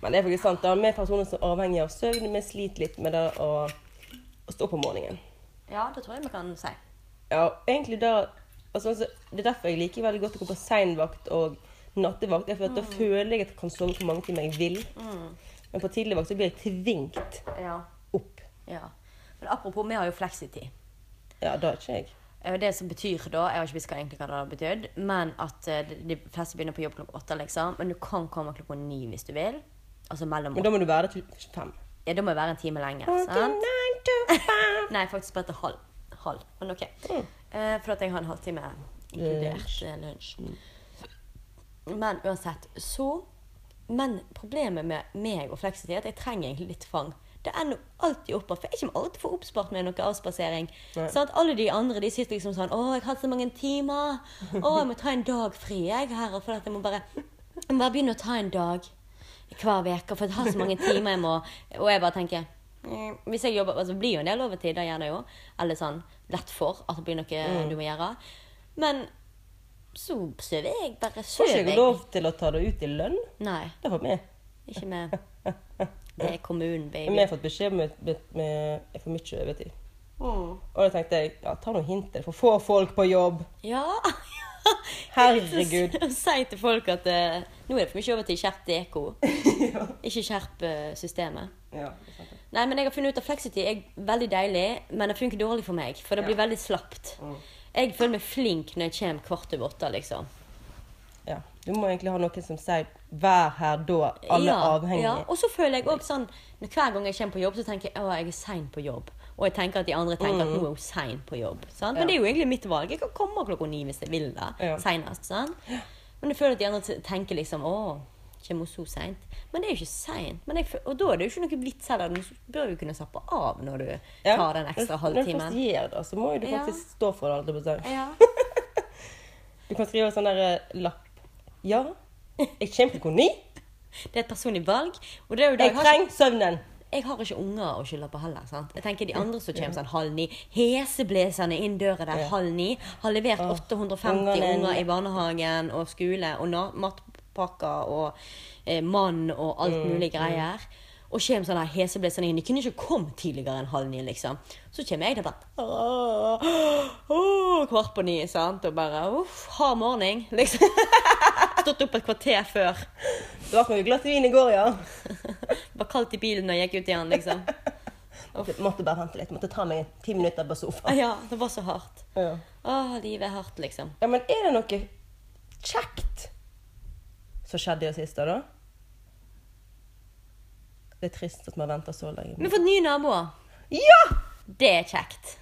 [SPEAKER 3] Men det er faktisk sant. da. Vi er personer som er avhengig av søvn. Vi sliter litt med det å, å stå opp om morgenen.
[SPEAKER 2] Ja, det tror jeg vi kan si.
[SPEAKER 3] Ja, egentlig da altså, altså, Det er derfor jeg liker veldig godt å gå på seinvakt og nattevakt. Det er fordi at Da føler jeg at jeg kan sove hvor mange timer jeg vil. Men på tidlig vakt så blir jeg tvingt
[SPEAKER 2] Ja.
[SPEAKER 3] opp.
[SPEAKER 2] ja. Men apropos, vi har jo fleksitid.
[SPEAKER 3] Ja, da er ikke jeg.
[SPEAKER 2] Eh, Det som betyr da, jeg har ikke visst hva egentlig hva det har betydd, men at eh, de de fleste begynner på jobb klokka åtte, liksom. Men du kan komme klokka ni hvis du vil. Altså mellom
[SPEAKER 3] Men da må du være der til fem.
[SPEAKER 2] Ja, da må jeg være en time lenger. sant?
[SPEAKER 3] Nine to five.
[SPEAKER 2] Nei, faktisk bare til halv. halv. Men ok.
[SPEAKER 3] Mm.
[SPEAKER 2] Eh, for at jeg har en halvtime inkludert eh, lunsj. Men uansett, så Men problemet med meg og fleksitid er at jeg trenger egentlig litt fang. Det ender alltid opp For jeg kommer aldri til å få oppspart meg noe avspasering.
[SPEAKER 3] Nei.
[SPEAKER 2] Sånn at alle de andre de sitter liksom sånn 'Å, jeg har hatt så mange timer.' 'Å, jeg må ta en dag fri, jeg, her.' For at jeg må bare Jeg må bare begynne å ta en dag hver uke, for jeg har så mange timer jeg må Og jeg bare tenker mm, hvis jeg jobber, altså det blir jo en del overtid, det gjør det jo. Eller sånn lett for at det blir noe
[SPEAKER 3] Mm.
[SPEAKER 2] du må gjøre. Men så sover jeg bare.
[SPEAKER 3] Får ikke
[SPEAKER 2] Sover
[SPEAKER 3] jeg
[SPEAKER 2] jeg.
[SPEAKER 3] lov til å ta det ut i lønn?
[SPEAKER 2] Nei,
[SPEAKER 3] Det har vi.
[SPEAKER 2] ikke med. Det er kommunen,
[SPEAKER 3] Men vi
[SPEAKER 2] baby.
[SPEAKER 3] har fått beskjed om at med, med, for mye overtid. Og da tenkte jeg ja, ta noen hint. Det er for få folk på jobb.
[SPEAKER 2] Ja.
[SPEAKER 3] Herregud.
[SPEAKER 2] Si til folk at eh, nå er det for mye over til Skjerp Deko. Ikke skjerp eh, systemet.
[SPEAKER 3] Ja, det er sant det.
[SPEAKER 2] Nei, men jeg har funnet ut at flexity er veldig deilig, men det funker dårlig for meg. For det blir
[SPEAKER 3] Ja.
[SPEAKER 2] veldig slapt.
[SPEAKER 3] Mm.
[SPEAKER 2] Jeg føler meg flink når jeg kommer kvart over åtte, liksom.
[SPEAKER 3] ja. Du må egentlig ha noen som sier 'vær her da', alle avhengige.
[SPEAKER 2] Ja. Og så føler jeg òg sånn når Hver gang jeg kommer på jobb, så tenker jeg å, jeg er sein på jobb. Og jeg tenker at de andre tenker at nå er hun sein på jobb. Sant? Men
[SPEAKER 3] Mm. Ja.
[SPEAKER 2] det er jo egentlig mitt valg. Jeg kan komme klokka ni hvis jeg vil det.
[SPEAKER 3] Ja.
[SPEAKER 2] Senest. Sant? Men jeg føler at de andre tenker liksom å, Kommer hun så seint? Men det er jo ikke seint. Men jeg fø- Og da er det jo ikke noe vits heller. Du bør jo kunne slappe av når du tar den ekstra
[SPEAKER 3] Når du
[SPEAKER 2] halvtimen.
[SPEAKER 3] først gjør det, så må jo du
[SPEAKER 2] Ja.
[SPEAKER 3] faktisk stå for det. holdt jeg på å si.
[SPEAKER 2] Ja.
[SPEAKER 3] Du kan skrive en sånn der eh, lapp. Ja, jeg kommer til koni.
[SPEAKER 2] Det er et personlig valg. Og det er jo det
[SPEAKER 3] Jeg
[SPEAKER 2] jeg har ikke,
[SPEAKER 3] trenger søvnen.
[SPEAKER 2] jeg har ikke unger å skylde på heller. sant? Jeg tenker De andre som kommer sånn halv ni, heseblesende inn døra der
[SPEAKER 3] Ja.
[SPEAKER 2] halv ni, har levert
[SPEAKER 3] Åh,
[SPEAKER 2] 850
[SPEAKER 3] ungene-
[SPEAKER 2] unger i barnehagen og skole og na- matpakker og eh, mann og alt
[SPEAKER 3] Mm,
[SPEAKER 2] mulig greier. Og kommer sånn der heseblesende inn. De kunne ikke kommet tidligere enn halv ni, liksom. Så kommer jeg der bare åh, åh, Kvart på ni, sant. Og bare uff, hard morgen, liksom. Stått opp et kvarter før.
[SPEAKER 3] Det var for mye glass vin i går, ja.
[SPEAKER 2] Bare kaldt i bilen når jeg gikk ut igjen, liksom.
[SPEAKER 3] Måtte- Måtte bare vente litt. Måtte ta meg ti minutter på sofaen.
[SPEAKER 2] Ja, det var så hardt.
[SPEAKER 3] Ja.
[SPEAKER 2] Åh, livet er hardt, liksom.
[SPEAKER 3] ja, men er det noe kjekt som skjedde i det siste, da? Det er trist at man venter så
[SPEAKER 2] Vi
[SPEAKER 3] lenge.
[SPEAKER 2] har fått nye naboer.
[SPEAKER 3] Ja!
[SPEAKER 2] Det er kjekt.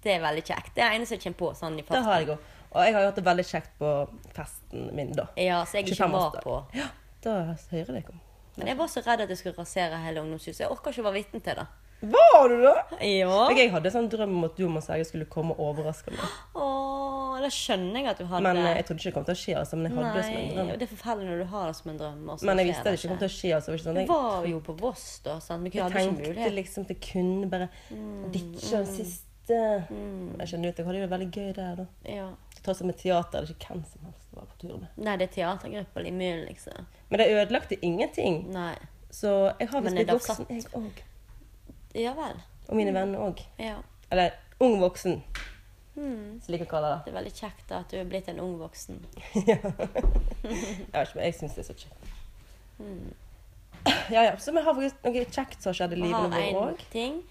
[SPEAKER 2] Det er veldig kjekt. Det er det eneste jeg kommer på sånn i
[SPEAKER 3] Det
[SPEAKER 2] farten.
[SPEAKER 3] har jeg òg. Og jeg har hatt det veldig kjekt på festen min, da.
[SPEAKER 2] Ja, så jeg ikke var
[SPEAKER 3] 25-årsdag.
[SPEAKER 2] på.
[SPEAKER 3] Ja, da hører jeg om.
[SPEAKER 2] Men jeg var så redd at jeg skulle rasere hele ungdomshuset. Jeg orker ikke å være vitne til det.
[SPEAKER 3] Var du det?
[SPEAKER 2] Ja.
[SPEAKER 3] Jeg hadde en sånn drøm om at du og Serge skulle komme og overraske meg.
[SPEAKER 2] Åh, da skjønner jeg at du hadde
[SPEAKER 3] Men eh, jeg trodde ikke det kom til å skje. Altså, men jeg hadde det som en
[SPEAKER 2] Nei,
[SPEAKER 3] drøm.
[SPEAKER 2] og det er forferdelig når du har det som en drøm. og så
[SPEAKER 3] Men
[SPEAKER 2] skjer
[SPEAKER 3] jeg visste det ikke kom til å skje. Altså, det var ikke sånn,
[SPEAKER 2] Vi
[SPEAKER 3] jeg,
[SPEAKER 2] var jo på Voss, da. sant? Vi kunne-
[SPEAKER 3] jeg
[SPEAKER 2] hadde ikke
[SPEAKER 3] tenkte
[SPEAKER 2] mulighet.
[SPEAKER 3] liksom til kun bare
[SPEAKER 2] Mm.
[SPEAKER 3] ditche den siste Jeg kjenner ut, jeg hadde jo det veldig gøy der, da.
[SPEAKER 2] Ja.
[SPEAKER 3] Til tross for med teater er det ikke hvem som helst som var på tur med.
[SPEAKER 2] Nei, det er teatergruppa Limyl, liksom.
[SPEAKER 3] Men det ødelagte ingenting.
[SPEAKER 2] Nei.
[SPEAKER 3] Så jeg har
[SPEAKER 2] Men
[SPEAKER 3] visst
[SPEAKER 2] er
[SPEAKER 3] blitt
[SPEAKER 2] det
[SPEAKER 3] voksen,
[SPEAKER 2] satt? Mm.
[SPEAKER 3] jeg òg.
[SPEAKER 2] Ja vel.
[SPEAKER 3] Og mine venner òg.
[SPEAKER 2] Ja.
[SPEAKER 3] Eller ung voksen,
[SPEAKER 2] Mm.
[SPEAKER 3] som jeg liker å kalle det.
[SPEAKER 2] Det er veldig kjekt da, at du er blitt en ung voksen.
[SPEAKER 3] Jeg vet ikke, men jeg syns det er så kjekt. Ja, ja. Så vi har faktisk noe kjekt som har skjedd i
[SPEAKER 2] Mm. Vi
[SPEAKER 3] livet
[SPEAKER 2] har
[SPEAKER 3] vårt
[SPEAKER 2] en
[SPEAKER 3] òg.
[SPEAKER 2] ting.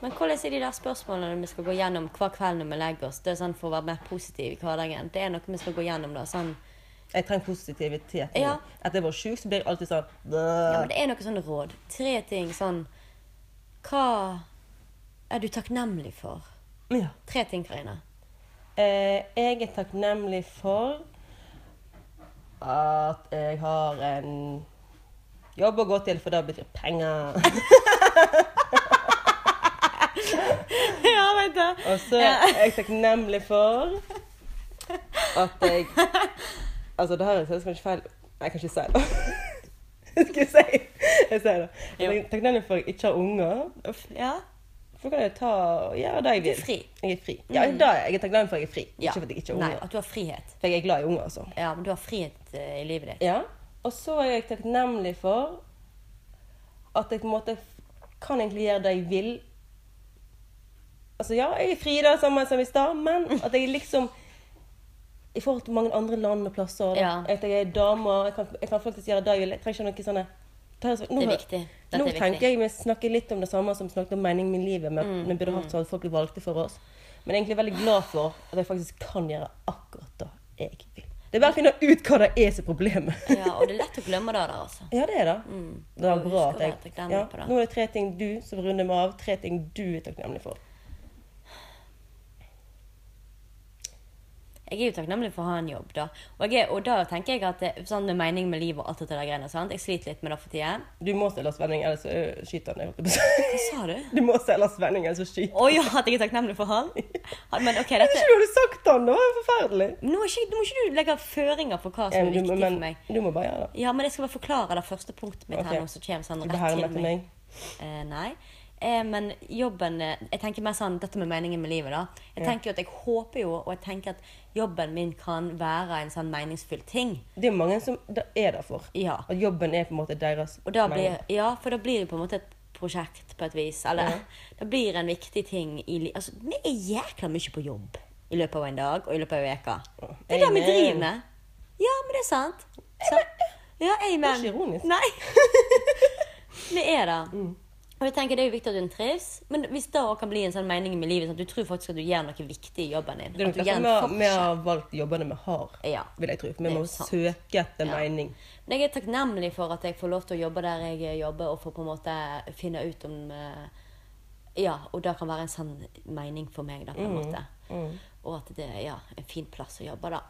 [SPEAKER 2] Men hvordan er de der spørsmålene vi skal gå gjennom hver kveld når vi legger oss? Det er sånn For å være mer positiv i hverdagen. Det er noe vi skal gå gjennom. da, sånn.
[SPEAKER 3] Jeg trenger positivitet. nå.
[SPEAKER 2] Ja.
[SPEAKER 3] Etter jeg var sjuk, så blir jeg alltid sånn
[SPEAKER 2] Ja,
[SPEAKER 3] «Bæ».
[SPEAKER 2] men Det er noe sånn råd. Tre ting sånn Hva er du takknemlig for?
[SPEAKER 3] ja.
[SPEAKER 2] Tre ting, Karina.
[SPEAKER 3] eh, Jeg er takknemlig for at jeg har en jobb å gå til, for det betyr penger.
[SPEAKER 2] Ja, vet du.
[SPEAKER 3] Og så er jeg takknemlig for at jeg Altså, det her er kanskje feil Nei, jeg kan ikke si det. Jeg skal si Jeg sier det. Jeg er takknemlig for at jeg ikke har unger.
[SPEAKER 2] Ja.
[SPEAKER 3] For da kan jeg ta og gjøre det jeg
[SPEAKER 2] Du er
[SPEAKER 3] vil.
[SPEAKER 2] fri.
[SPEAKER 3] Jeg er fri. Ja, da er jeg takknemlig for at jeg er fri.
[SPEAKER 2] ja.
[SPEAKER 3] Ikke for at jeg ikke har
[SPEAKER 2] Nei,
[SPEAKER 3] unger.
[SPEAKER 2] at du har frihet.
[SPEAKER 3] For jeg er glad i unger, altså.
[SPEAKER 2] Ja, men du har frihet eh, i livet ditt.
[SPEAKER 3] Ja. Og så er jeg takknemlig for at jeg på en måte kan egentlig gjøre det jeg vil. Altså ja, jeg er fri da, samme som i stad, men at jeg liksom I forhold til mange andre land og plasser, da,
[SPEAKER 2] Ja.
[SPEAKER 3] at jeg er dame og jeg kan, jeg kan faktisk gjøre det jeg vil. Jeg trenger ikke noe sånne det er, så, nå,
[SPEAKER 2] Det er viktig. Dette
[SPEAKER 3] nå
[SPEAKER 2] er viktig.
[SPEAKER 3] tenker jeg vi snakker litt om det samme som vi snakket om meningen med livet. Men
[SPEAKER 2] Mm.
[SPEAKER 3] vi burde hatt sånn at folk blir valgte for oss. Men jeg er egentlig veldig glad for at jeg faktisk kan gjøre akkurat det jeg vil. Det er bare å finne ut hva det er som er problemet.
[SPEAKER 2] Ja, Og det er lett å glemme det der, altså.
[SPEAKER 3] Ja, det er det. Det
[SPEAKER 2] Og
[SPEAKER 3] var bra
[SPEAKER 2] husk å
[SPEAKER 3] at
[SPEAKER 2] være
[SPEAKER 3] jeg
[SPEAKER 2] takknemlig
[SPEAKER 3] ja.
[SPEAKER 2] på det.
[SPEAKER 3] Nå er det tre ting du som runder meg av. Tre ting du er takknemlig for.
[SPEAKER 2] Jeg er jo takknemlig for å ha en jobb, da. Og, jeg, er- og da tenker jeg at det, sånn med mening med livet og alt dette der greiene, sant. Jeg sliter litt med det for tida.
[SPEAKER 3] Du må stille spenning, ellers så ø, skyter han deg. holdt jeg på å
[SPEAKER 2] Hva
[SPEAKER 3] si.
[SPEAKER 2] sa du?
[SPEAKER 3] Du må stille spenning, ellers så skyter
[SPEAKER 2] Å ja, at jeg er takknemlig for han? Ja, Men ok,
[SPEAKER 3] Jeg vet
[SPEAKER 2] dette
[SPEAKER 3] ikke hva du hadde sagt han, det var jo forferdelig.
[SPEAKER 2] Nå er ikke, nå må ikke du legge føringer for hva som er
[SPEAKER 3] Ja, men du,
[SPEAKER 2] viktig
[SPEAKER 3] må-
[SPEAKER 2] for
[SPEAKER 3] men,
[SPEAKER 2] meg.
[SPEAKER 3] du må bare gjøre det.
[SPEAKER 2] Ja, men jeg skal bare forklare det første punktet mitt
[SPEAKER 3] Ok.
[SPEAKER 2] her nå, som kommer sånn
[SPEAKER 3] Du blir
[SPEAKER 2] rett
[SPEAKER 3] hermet
[SPEAKER 2] til
[SPEAKER 3] til
[SPEAKER 2] meg.
[SPEAKER 3] meg.
[SPEAKER 2] Eh, nei. Eh, men jobben eh, Jeg tenker mer sånn dette med meningen med livet, da. Jeg tenker jo at jeg håper jo, og jeg tenker at jobben min kan være en sånn meningsfull ting.
[SPEAKER 3] Det er jo mange som det er der for.
[SPEAKER 2] Ja.
[SPEAKER 3] At jobben er på en måte deres
[SPEAKER 2] Og da
[SPEAKER 3] mening.
[SPEAKER 2] blir, ja, for da blir det på en måte et prosjekt på et vis. Eller det blir en viktig ting i livet. Altså, vi er jækla mye på jobb i løpet av en dag og i løpet av en uke. Det er det vi
[SPEAKER 3] Amen.
[SPEAKER 2] driver med. Ja, men det er sant. Så, ja, amen.
[SPEAKER 3] Det er ikke ironisk. Mm.
[SPEAKER 2] Nei. det er det. Og jeg tenker Det er jo viktig at hun trives, men hvis det også kan bli en sånn mening med livet sånn at Du tror faktisk at du gjør noe viktig i jobben din.
[SPEAKER 3] Det er nok
[SPEAKER 2] at du
[SPEAKER 3] derfor
[SPEAKER 2] gjør en
[SPEAKER 3] vi har- vi
[SPEAKER 2] forskjell.
[SPEAKER 3] har valgt jobbene vi har,
[SPEAKER 2] Ja.
[SPEAKER 3] vil jeg tro. For
[SPEAKER 2] Det er
[SPEAKER 3] vi
[SPEAKER 2] jo
[SPEAKER 3] må
[SPEAKER 2] sant.
[SPEAKER 3] søke etter
[SPEAKER 2] Ja.
[SPEAKER 3] mening.
[SPEAKER 2] Men jeg er takknemlig for at jeg får lov til å jobbe der jeg jobber, og får på en måte finne ut om eh, Ja, og det kan være en sann mening for meg, da,
[SPEAKER 3] Mm,
[SPEAKER 2] på en måte. Og at det ja, er en fin plass å jobbe, da.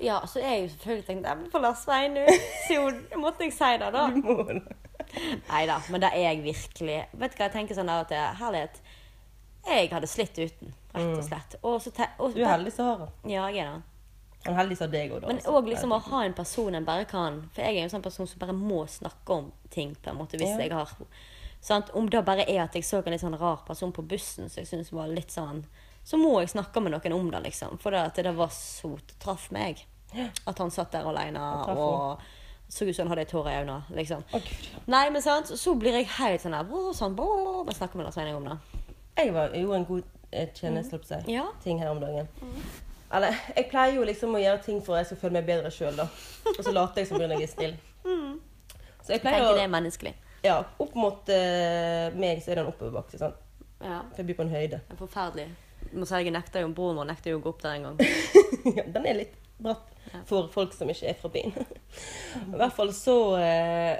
[SPEAKER 2] Ja, så jeg jo selvfølgelig tenkt jeg må forlate Sveinung. Så jo, måtte jeg si det, da.
[SPEAKER 3] Du må det.
[SPEAKER 2] Nei da, men det er jeg virkelig. Vet du hva jeg tenker sånn av og til? Herlighet. Jeg hadde slitt uten, rett og slett. Og så te og,
[SPEAKER 3] Mm. Du er heldig som har han.
[SPEAKER 2] Ja, jeg er det.
[SPEAKER 3] Han er heldig som har deg òg, da.
[SPEAKER 2] Men
[SPEAKER 3] altså.
[SPEAKER 2] òg liksom å ha en person en bare kan For jeg er jo en sånn person som bare må snakke om ting, på en måte, hvis
[SPEAKER 3] Ja.
[SPEAKER 2] jeg har sant? Om det bare er at jeg så en litt sånn rar person på bussen som jeg syns var litt sånn Så må jeg snakke med noen om det, liksom. For det, at det var så Det traff meg. At han satt der alene
[SPEAKER 3] traff
[SPEAKER 2] og så ut som han hadde et tår i øynene, liksom.
[SPEAKER 3] Å, Gud.
[SPEAKER 2] Nei, men sant, så blir jeg helt sånn der brå, sånn, brå, bare snakker med Lars Einar om det.
[SPEAKER 3] Jeg var jo en god eh, tjeneste, holdt på å si.
[SPEAKER 2] Mm. Ja. Mm.
[SPEAKER 3] Ting her om dagen. Eller, jeg pleier jo liksom å gjøre ting for at jeg skal føle meg bedre sjøl, da. Og så later jeg som om jeg er snill. Så jeg pleier
[SPEAKER 2] Mm. Tenker det
[SPEAKER 3] å
[SPEAKER 2] er menneskelig.
[SPEAKER 3] Ja, opp mot eh, meg så er det en oppoverbakke, sant.
[SPEAKER 2] Ja.
[SPEAKER 3] For jeg bor på en høyde.
[SPEAKER 2] Det er forferdelig. Må si jeg nekter jo broren vår nekter jo å gå opp der en gang.
[SPEAKER 3] Ja, Den er litt bratt for folk som ikke er fra byen. I hvert fall så eh,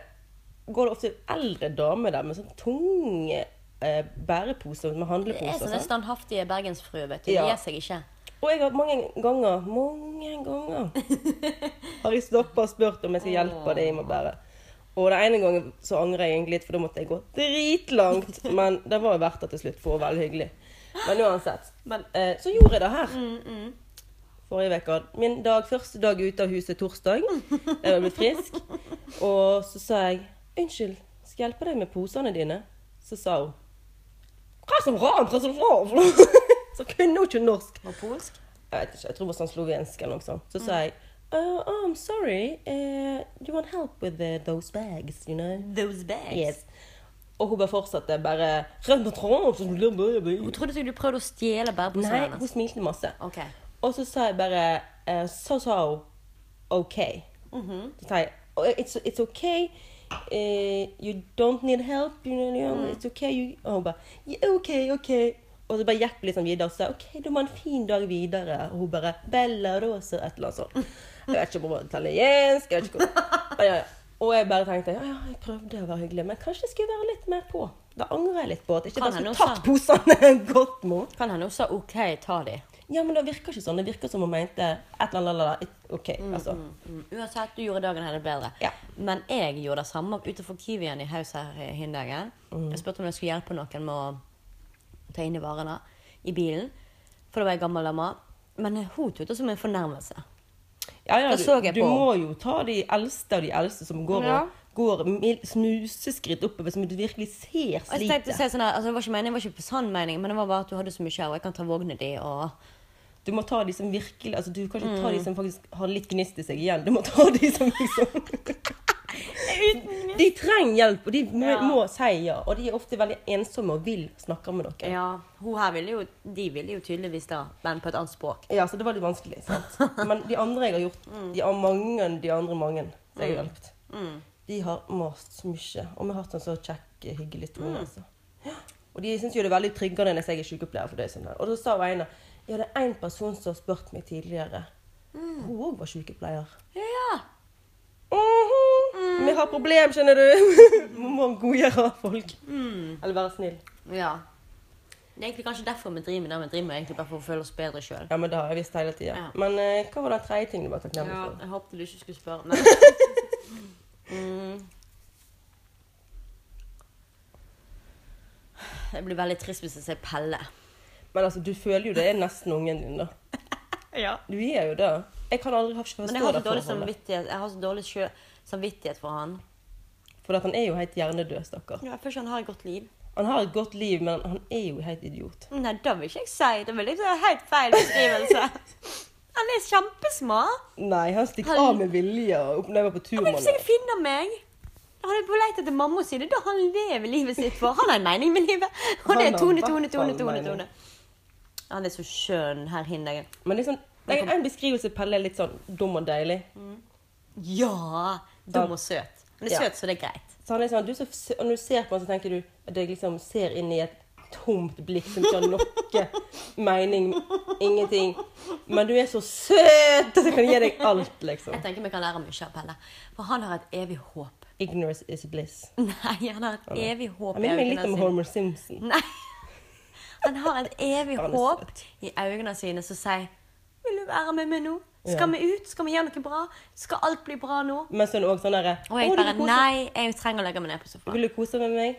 [SPEAKER 3] går det ofte eldre damer der med sånn tunge eh, bæreposer med
[SPEAKER 2] Det er
[SPEAKER 3] handleposer.
[SPEAKER 2] sånne
[SPEAKER 3] sant?
[SPEAKER 2] standhaftige bergensfruer, vet du.
[SPEAKER 3] Ja.
[SPEAKER 2] De gir seg ikke.
[SPEAKER 3] Og jeg har mange ganger, mange ganger har jeg stoppa og spurt om jeg skal hjelpe deg med å bære. Og den ene gangen så angrer jeg egentlig litt, for da måtte jeg gå dritlangt. Men det var jo verdt det til slutt, for hun var veldig hyggelig. Men uansett.
[SPEAKER 2] Men-
[SPEAKER 3] eh, så gjorde jeg det her. Forrige uke. Min dag, første dag ute av huset torsdag. Jeg var blitt frisk. Og så sa jeg 'Unnskyld, skal jeg hjelpe deg med posene dine?' Så sa hun 'Hva som rart? Hva som rart?' Så kunne hun ikke norsk.
[SPEAKER 2] Og polsk?
[SPEAKER 3] Jeg vet ikke, jeg tror det var sånn slovensk eller noe sånt. Så sa jeg oh, oh, I'm sorry. eh, do you want help with eh, those bags, you know?
[SPEAKER 2] Those bags.
[SPEAKER 3] Yes. Og hun bare fortsatte bare «Rønn og tråd, så blir det
[SPEAKER 2] Hun
[SPEAKER 3] bare-
[SPEAKER 2] trodde sikkert du prøvde å stjele bæreposene
[SPEAKER 3] Nei, hun
[SPEAKER 2] hennes.
[SPEAKER 3] smilte masse.
[SPEAKER 2] Ok.
[SPEAKER 3] Og så sa jeg bare eh, Så sa hun OK. Så sa jeg «Oh, It's, it's OK. eh, you don't need help. You know, you know, It's OK. You, og hun bare yeah, OK, OK. Og så bare gikk vi liksom videre og sa OK, du må ha en fin dag videre. Og hun bare Bella Rosa, et eller annet sånt. Jeg vet ikke om hun var italiensk. Jeg vet ikke hvor. Ja, ja, ja. Og jeg bare tenkte ja, ja, jeg prøvde å være hyggelig, men kanskje jeg skulle være litt mer på. Da angrer jeg litt på at jeg ikke
[SPEAKER 2] Kan
[SPEAKER 3] bare
[SPEAKER 2] hende
[SPEAKER 3] skulle
[SPEAKER 2] hun
[SPEAKER 3] tatt posene godt mot.
[SPEAKER 2] Kan hende hun sa OK, ta de.
[SPEAKER 3] Ja, men det virker ikke sånn. Det virker som hun mente et eller annet la, la, et- OK, altså.
[SPEAKER 2] Mm. Uansett, du gjorde dagen hennes bedre.
[SPEAKER 3] Ja.
[SPEAKER 2] Men jeg gjorde det samme utenfor Kiwien i Haus her eh, hin dagen. Jeg spurte om jeg skulle hjelpe noen med å ta inn de varene i bilen. For da var jeg gammel dame. Men eh, hun tok det som en fornærmelse.
[SPEAKER 3] Ja, ja,
[SPEAKER 2] Da
[SPEAKER 3] du,
[SPEAKER 2] så jeg
[SPEAKER 3] du
[SPEAKER 2] på
[SPEAKER 3] må jo ta de eldste av de eldste som går,
[SPEAKER 2] Ja.
[SPEAKER 3] og, går mil- snuseskritt oppover, som du virkelig ser
[SPEAKER 2] Og Jeg tenkte å
[SPEAKER 3] sliter.
[SPEAKER 2] si sånn her, altså, Det var ikke meningen, det var ikke på sann mening, men det var bare at du hadde så mye, og jeg kan ta vogna di og
[SPEAKER 3] Du må ta de som virkelig altså, Du kan ikke ta
[SPEAKER 2] Mm.
[SPEAKER 3] de som faktisk har litt gnist i seg igjen. Du må ta de som liksom De trenger hjelp, og de må,
[SPEAKER 2] Ja.
[SPEAKER 3] må si ja. Og de er ofte veldig ensomme og vil snakke med noen.
[SPEAKER 2] Ja, hun her ville jo, de ville jo tydeligvis da, men på et annet språk.
[SPEAKER 3] Ja, så det var litt vanskelig. sant? Men de andre jeg har gjort, de har mange, de andre mange som jeg har hjulpet, de har mast så mye. Og vi har hatt en så kjekk, hyggelig tone. altså. Ja. Og de syns jo det er veldig tryggende når jeg er sykepleier. for det er sånn der. Og da sa hun ene ja, det er én person som har spurt meg tidligere. Hun òg var sykepleier.
[SPEAKER 2] Ja,
[SPEAKER 3] Mhm. Vi har problem, skjønner du. Vi må godgjøre folk. Eller være snill.
[SPEAKER 2] ja. Det er egentlig kanskje derfor vi driver med det vi driver med, egentlig bare for å føle oss bedre sjøl.
[SPEAKER 3] Ja, men det har jeg visst hele tida.
[SPEAKER 2] Ja.
[SPEAKER 3] Men eh, hva var den tredje tingen du var takknemlig for?
[SPEAKER 2] jeg håpte du ikke skulle spørre. Men... mm. Det blir veldig trist hvis jeg sier Pelle.
[SPEAKER 3] Men altså, du føler jo det er nesten ungen din, da.
[SPEAKER 2] Ja.
[SPEAKER 3] Du gjør jo det. Jeg kan aldri ha- forstå
[SPEAKER 2] Men jeg har
[SPEAKER 3] det
[SPEAKER 2] så dårlig
[SPEAKER 3] forholdet.
[SPEAKER 2] samvittighet, jeg har så dårlig sjø- samvittighet for han.
[SPEAKER 3] For at han er jo helt hjernedød, stakkar.
[SPEAKER 2] Ja, jeg føler ikke han har et godt liv.
[SPEAKER 3] Han har et godt liv, men han er jo helt idiot.
[SPEAKER 2] Nei, det vil ikke jeg si. Det vil ikke være sånn helt feil beskrivelse. Han er kjempesmart.
[SPEAKER 3] Nei, han stikker
[SPEAKER 2] Han-
[SPEAKER 3] av med vilje og opp når jeg var på tur
[SPEAKER 2] Han
[SPEAKER 3] med
[SPEAKER 2] vil
[SPEAKER 3] han.
[SPEAKER 2] sikkert finne meg. Han er på leit etter mamma si. Det er da han lever livet sitt for. Han har en mening med livet. Og
[SPEAKER 3] Han
[SPEAKER 2] det
[SPEAKER 3] har
[SPEAKER 2] er Tone,
[SPEAKER 3] i hvert
[SPEAKER 2] Tone,
[SPEAKER 3] fall
[SPEAKER 2] Tone, Tone.
[SPEAKER 3] mening.
[SPEAKER 2] tone. Han er så skjønn, herr Hindagen.
[SPEAKER 3] Men liksom, en, en beskrivelse av Pelle er litt sånn dum og deilig.
[SPEAKER 2] Ja! Dum og søt. Han er
[SPEAKER 3] Ja.
[SPEAKER 2] søt, så det er greit.
[SPEAKER 3] Så han er sånn, du så, og når du ser på han, så tenker du at jeg liksom ser inn i et tomt blikk som ikke har noe mening, ingenting. Men du er så søt, at jeg kan gi deg alt, liksom.
[SPEAKER 2] Jeg tenker vi kan lære mye av Pelle. For han har et evig håp.
[SPEAKER 3] Ignorance is bliss.
[SPEAKER 2] Nei, han har et evig håp. i
[SPEAKER 3] Jeg minner meg
[SPEAKER 2] øynene
[SPEAKER 3] litt om
[SPEAKER 2] sine.
[SPEAKER 3] Homer Simpson.
[SPEAKER 2] Nei. Han har et evig
[SPEAKER 3] Han er
[SPEAKER 2] håp
[SPEAKER 3] søt.
[SPEAKER 2] i øynene sine som sier 'Vil du være med meg nå?' Skal vi ut? Skal vi gjøre noe bra? Skal alt bli bra nå?
[SPEAKER 3] Men så er det òg sånn derre
[SPEAKER 2] Og jeg
[SPEAKER 3] «Å, du
[SPEAKER 2] bare
[SPEAKER 3] vil kose-
[SPEAKER 2] Nei, jeg trenger å legge meg ned på sofaen.
[SPEAKER 3] Vil du kose med meg?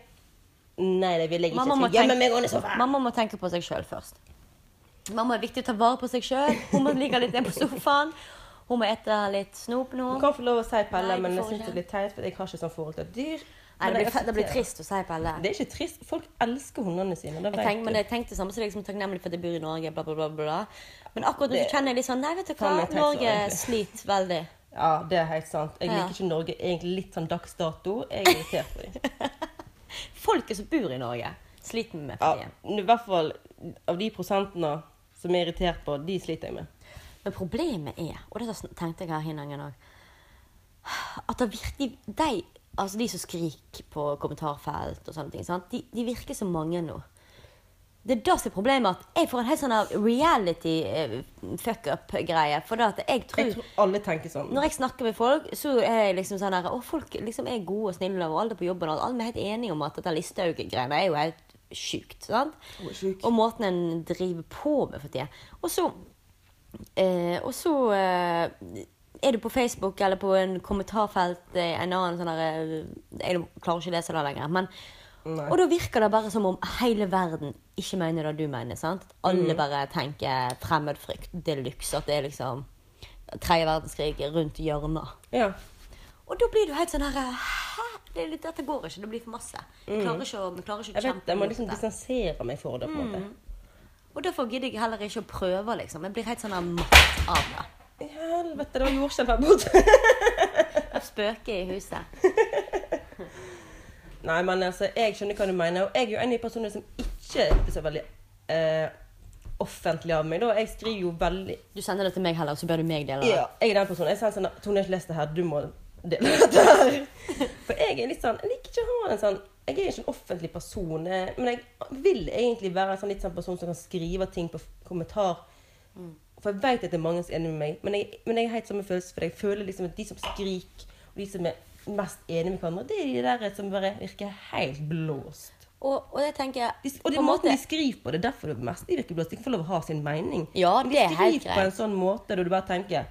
[SPEAKER 3] Nei, det vil jeg ikke.
[SPEAKER 2] Mamma må,
[SPEAKER 3] så gjemmer meg under
[SPEAKER 2] tenke,
[SPEAKER 3] sofaen.
[SPEAKER 2] mamma må tenke på seg sjøl først. Mamma er viktig å ta vare på seg sjøl. Hun må ligge litt ned på sofaen. Hun må ete litt snop nå.
[SPEAKER 3] Du kan få lov å si Pelle,
[SPEAKER 2] Nei, du
[SPEAKER 3] men jeg
[SPEAKER 2] får
[SPEAKER 3] syns det
[SPEAKER 2] ikke.
[SPEAKER 3] er litt teit, for jeg har ikke sånn forhold til dyr.
[SPEAKER 2] Nei,
[SPEAKER 3] Men
[SPEAKER 2] det,
[SPEAKER 3] jeg
[SPEAKER 2] blir, det blir
[SPEAKER 3] aksepterer.
[SPEAKER 2] trist å si på alle.
[SPEAKER 3] Det er ikke trist. Folk elsker hundene sine. Det
[SPEAKER 2] Jeg
[SPEAKER 3] vet
[SPEAKER 2] tenk,
[SPEAKER 3] du.
[SPEAKER 2] men jeg tenkte det samme, så jeg er liksom takknemlig for at jeg bor i Norge. Bla, bli bla, bla. Men akkurat nå så
[SPEAKER 3] Det-
[SPEAKER 2] kjenner jeg litt sånn Nei, vet du hva,
[SPEAKER 3] Kan jeg tenke så,
[SPEAKER 2] Norge
[SPEAKER 3] egentlig.
[SPEAKER 2] sliter veldig.
[SPEAKER 3] Ja, det er helt sant. Jeg
[SPEAKER 2] Ja.
[SPEAKER 3] liker ikke Norge egentlig litt sånn dags dato. Jeg er irritert på dem.
[SPEAKER 2] Folket som bor i Norge, sliter vi med
[SPEAKER 3] Ja,
[SPEAKER 2] for tiden.
[SPEAKER 3] I hvert fall av de prosentene som jeg er irritert på, de sliter jeg med.
[SPEAKER 2] Men problemet er, og det tenkte jeg her hinanden òg, at det virkelig de, altså de som skriker på kommentarfelt og sånne ting, sant? De, de virker så mange nå. Det er da som er problemet, at jeg får en helt sånn her reality eh, fuck up-greie. For det at jeg tror
[SPEAKER 3] Jeg tror alle tenker sånn.
[SPEAKER 2] Når jeg snakker med folk, så er jeg liksom sånn her Å, folk liksom er gode og snille, og alle på jobben og alt. Alle er helt enige om at dette Listhaug-greiene er jo helt sjukt. sant?
[SPEAKER 3] Hun er sjuk.
[SPEAKER 2] Og måten en driver på med for tida. Og så eh, Og så eh, er du på Facebook eller på en kommentarfelt eh, en annen sånn her eh, Jeg klarer ikke å lese det lenger. men
[SPEAKER 3] Nei.
[SPEAKER 2] og da virker det bare som om hele verden ikke mener det du mener. sant? At
[SPEAKER 3] Mm.
[SPEAKER 2] Alle bare tenker fremmedfrykt de luxe. At det er liksom tredje verdenskrig rundt hjørnet.
[SPEAKER 3] Ja.
[SPEAKER 2] Og da blir du helt sånn her Hæ? Det, er litt- dette går ikke. Det blir for masse. Jeg klarer ikke å, jeg klarer ikke å
[SPEAKER 3] Mm. Jeg vet,
[SPEAKER 2] kjempe
[SPEAKER 3] jeg må
[SPEAKER 2] mot
[SPEAKER 3] liksom
[SPEAKER 2] det.
[SPEAKER 3] distansere meg for det. på en måte.
[SPEAKER 2] Mm. Og derfor gidder jeg heller ikke å prøve, liksom. Jeg blir helt sånn her matt av det.
[SPEAKER 3] I Helvete, det var jordskjelv her borte.
[SPEAKER 2] Jeg spøker i huset.
[SPEAKER 3] Nei, men altså, jeg skjønner hva du mener. Og jeg er jo en av de personene som ikke er så veldig eh, offentlig av meg. da. Jeg skriver jo veldig
[SPEAKER 2] Du sender det til meg heller, så bør du meg dele det.
[SPEAKER 3] Ja, jeg er den personen. Jeg sier sånn Tone, jeg har ikke lest det her. Du må dele dette her. For jeg er litt sånn Jeg liker ikke å ha en sånn Jeg er ikke en offentlig person. eh, Men jeg vil egentlig være en sånn litt sånn person som kan skrive ting på f- kommentar. For jeg vet at det er mange som er enig med meg, men jeg, men jeg har helt samme følelse. For jeg føler liksom at de som skriker, og de som er mest enige med hverandre, det er de der som bare virker helt blåst.
[SPEAKER 2] Og, og jeg tenker
[SPEAKER 3] De, og det
[SPEAKER 2] på
[SPEAKER 3] er
[SPEAKER 2] en
[SPEAKER 3] måten
[SPEAKER 2] måte-
[SPEAKER 3] de skriver på, det er derfor det er mest de virker blåst. De får lov å ha sin mening.
[SPEAKER 2] Ja,
[SPEAKER 3] Men
[SPEAKER 2] det er
[SPEAKER 3] de
[SPEAKER 2] helt
[SPEAKER 3] skriver på en sånn måte der du bare tenker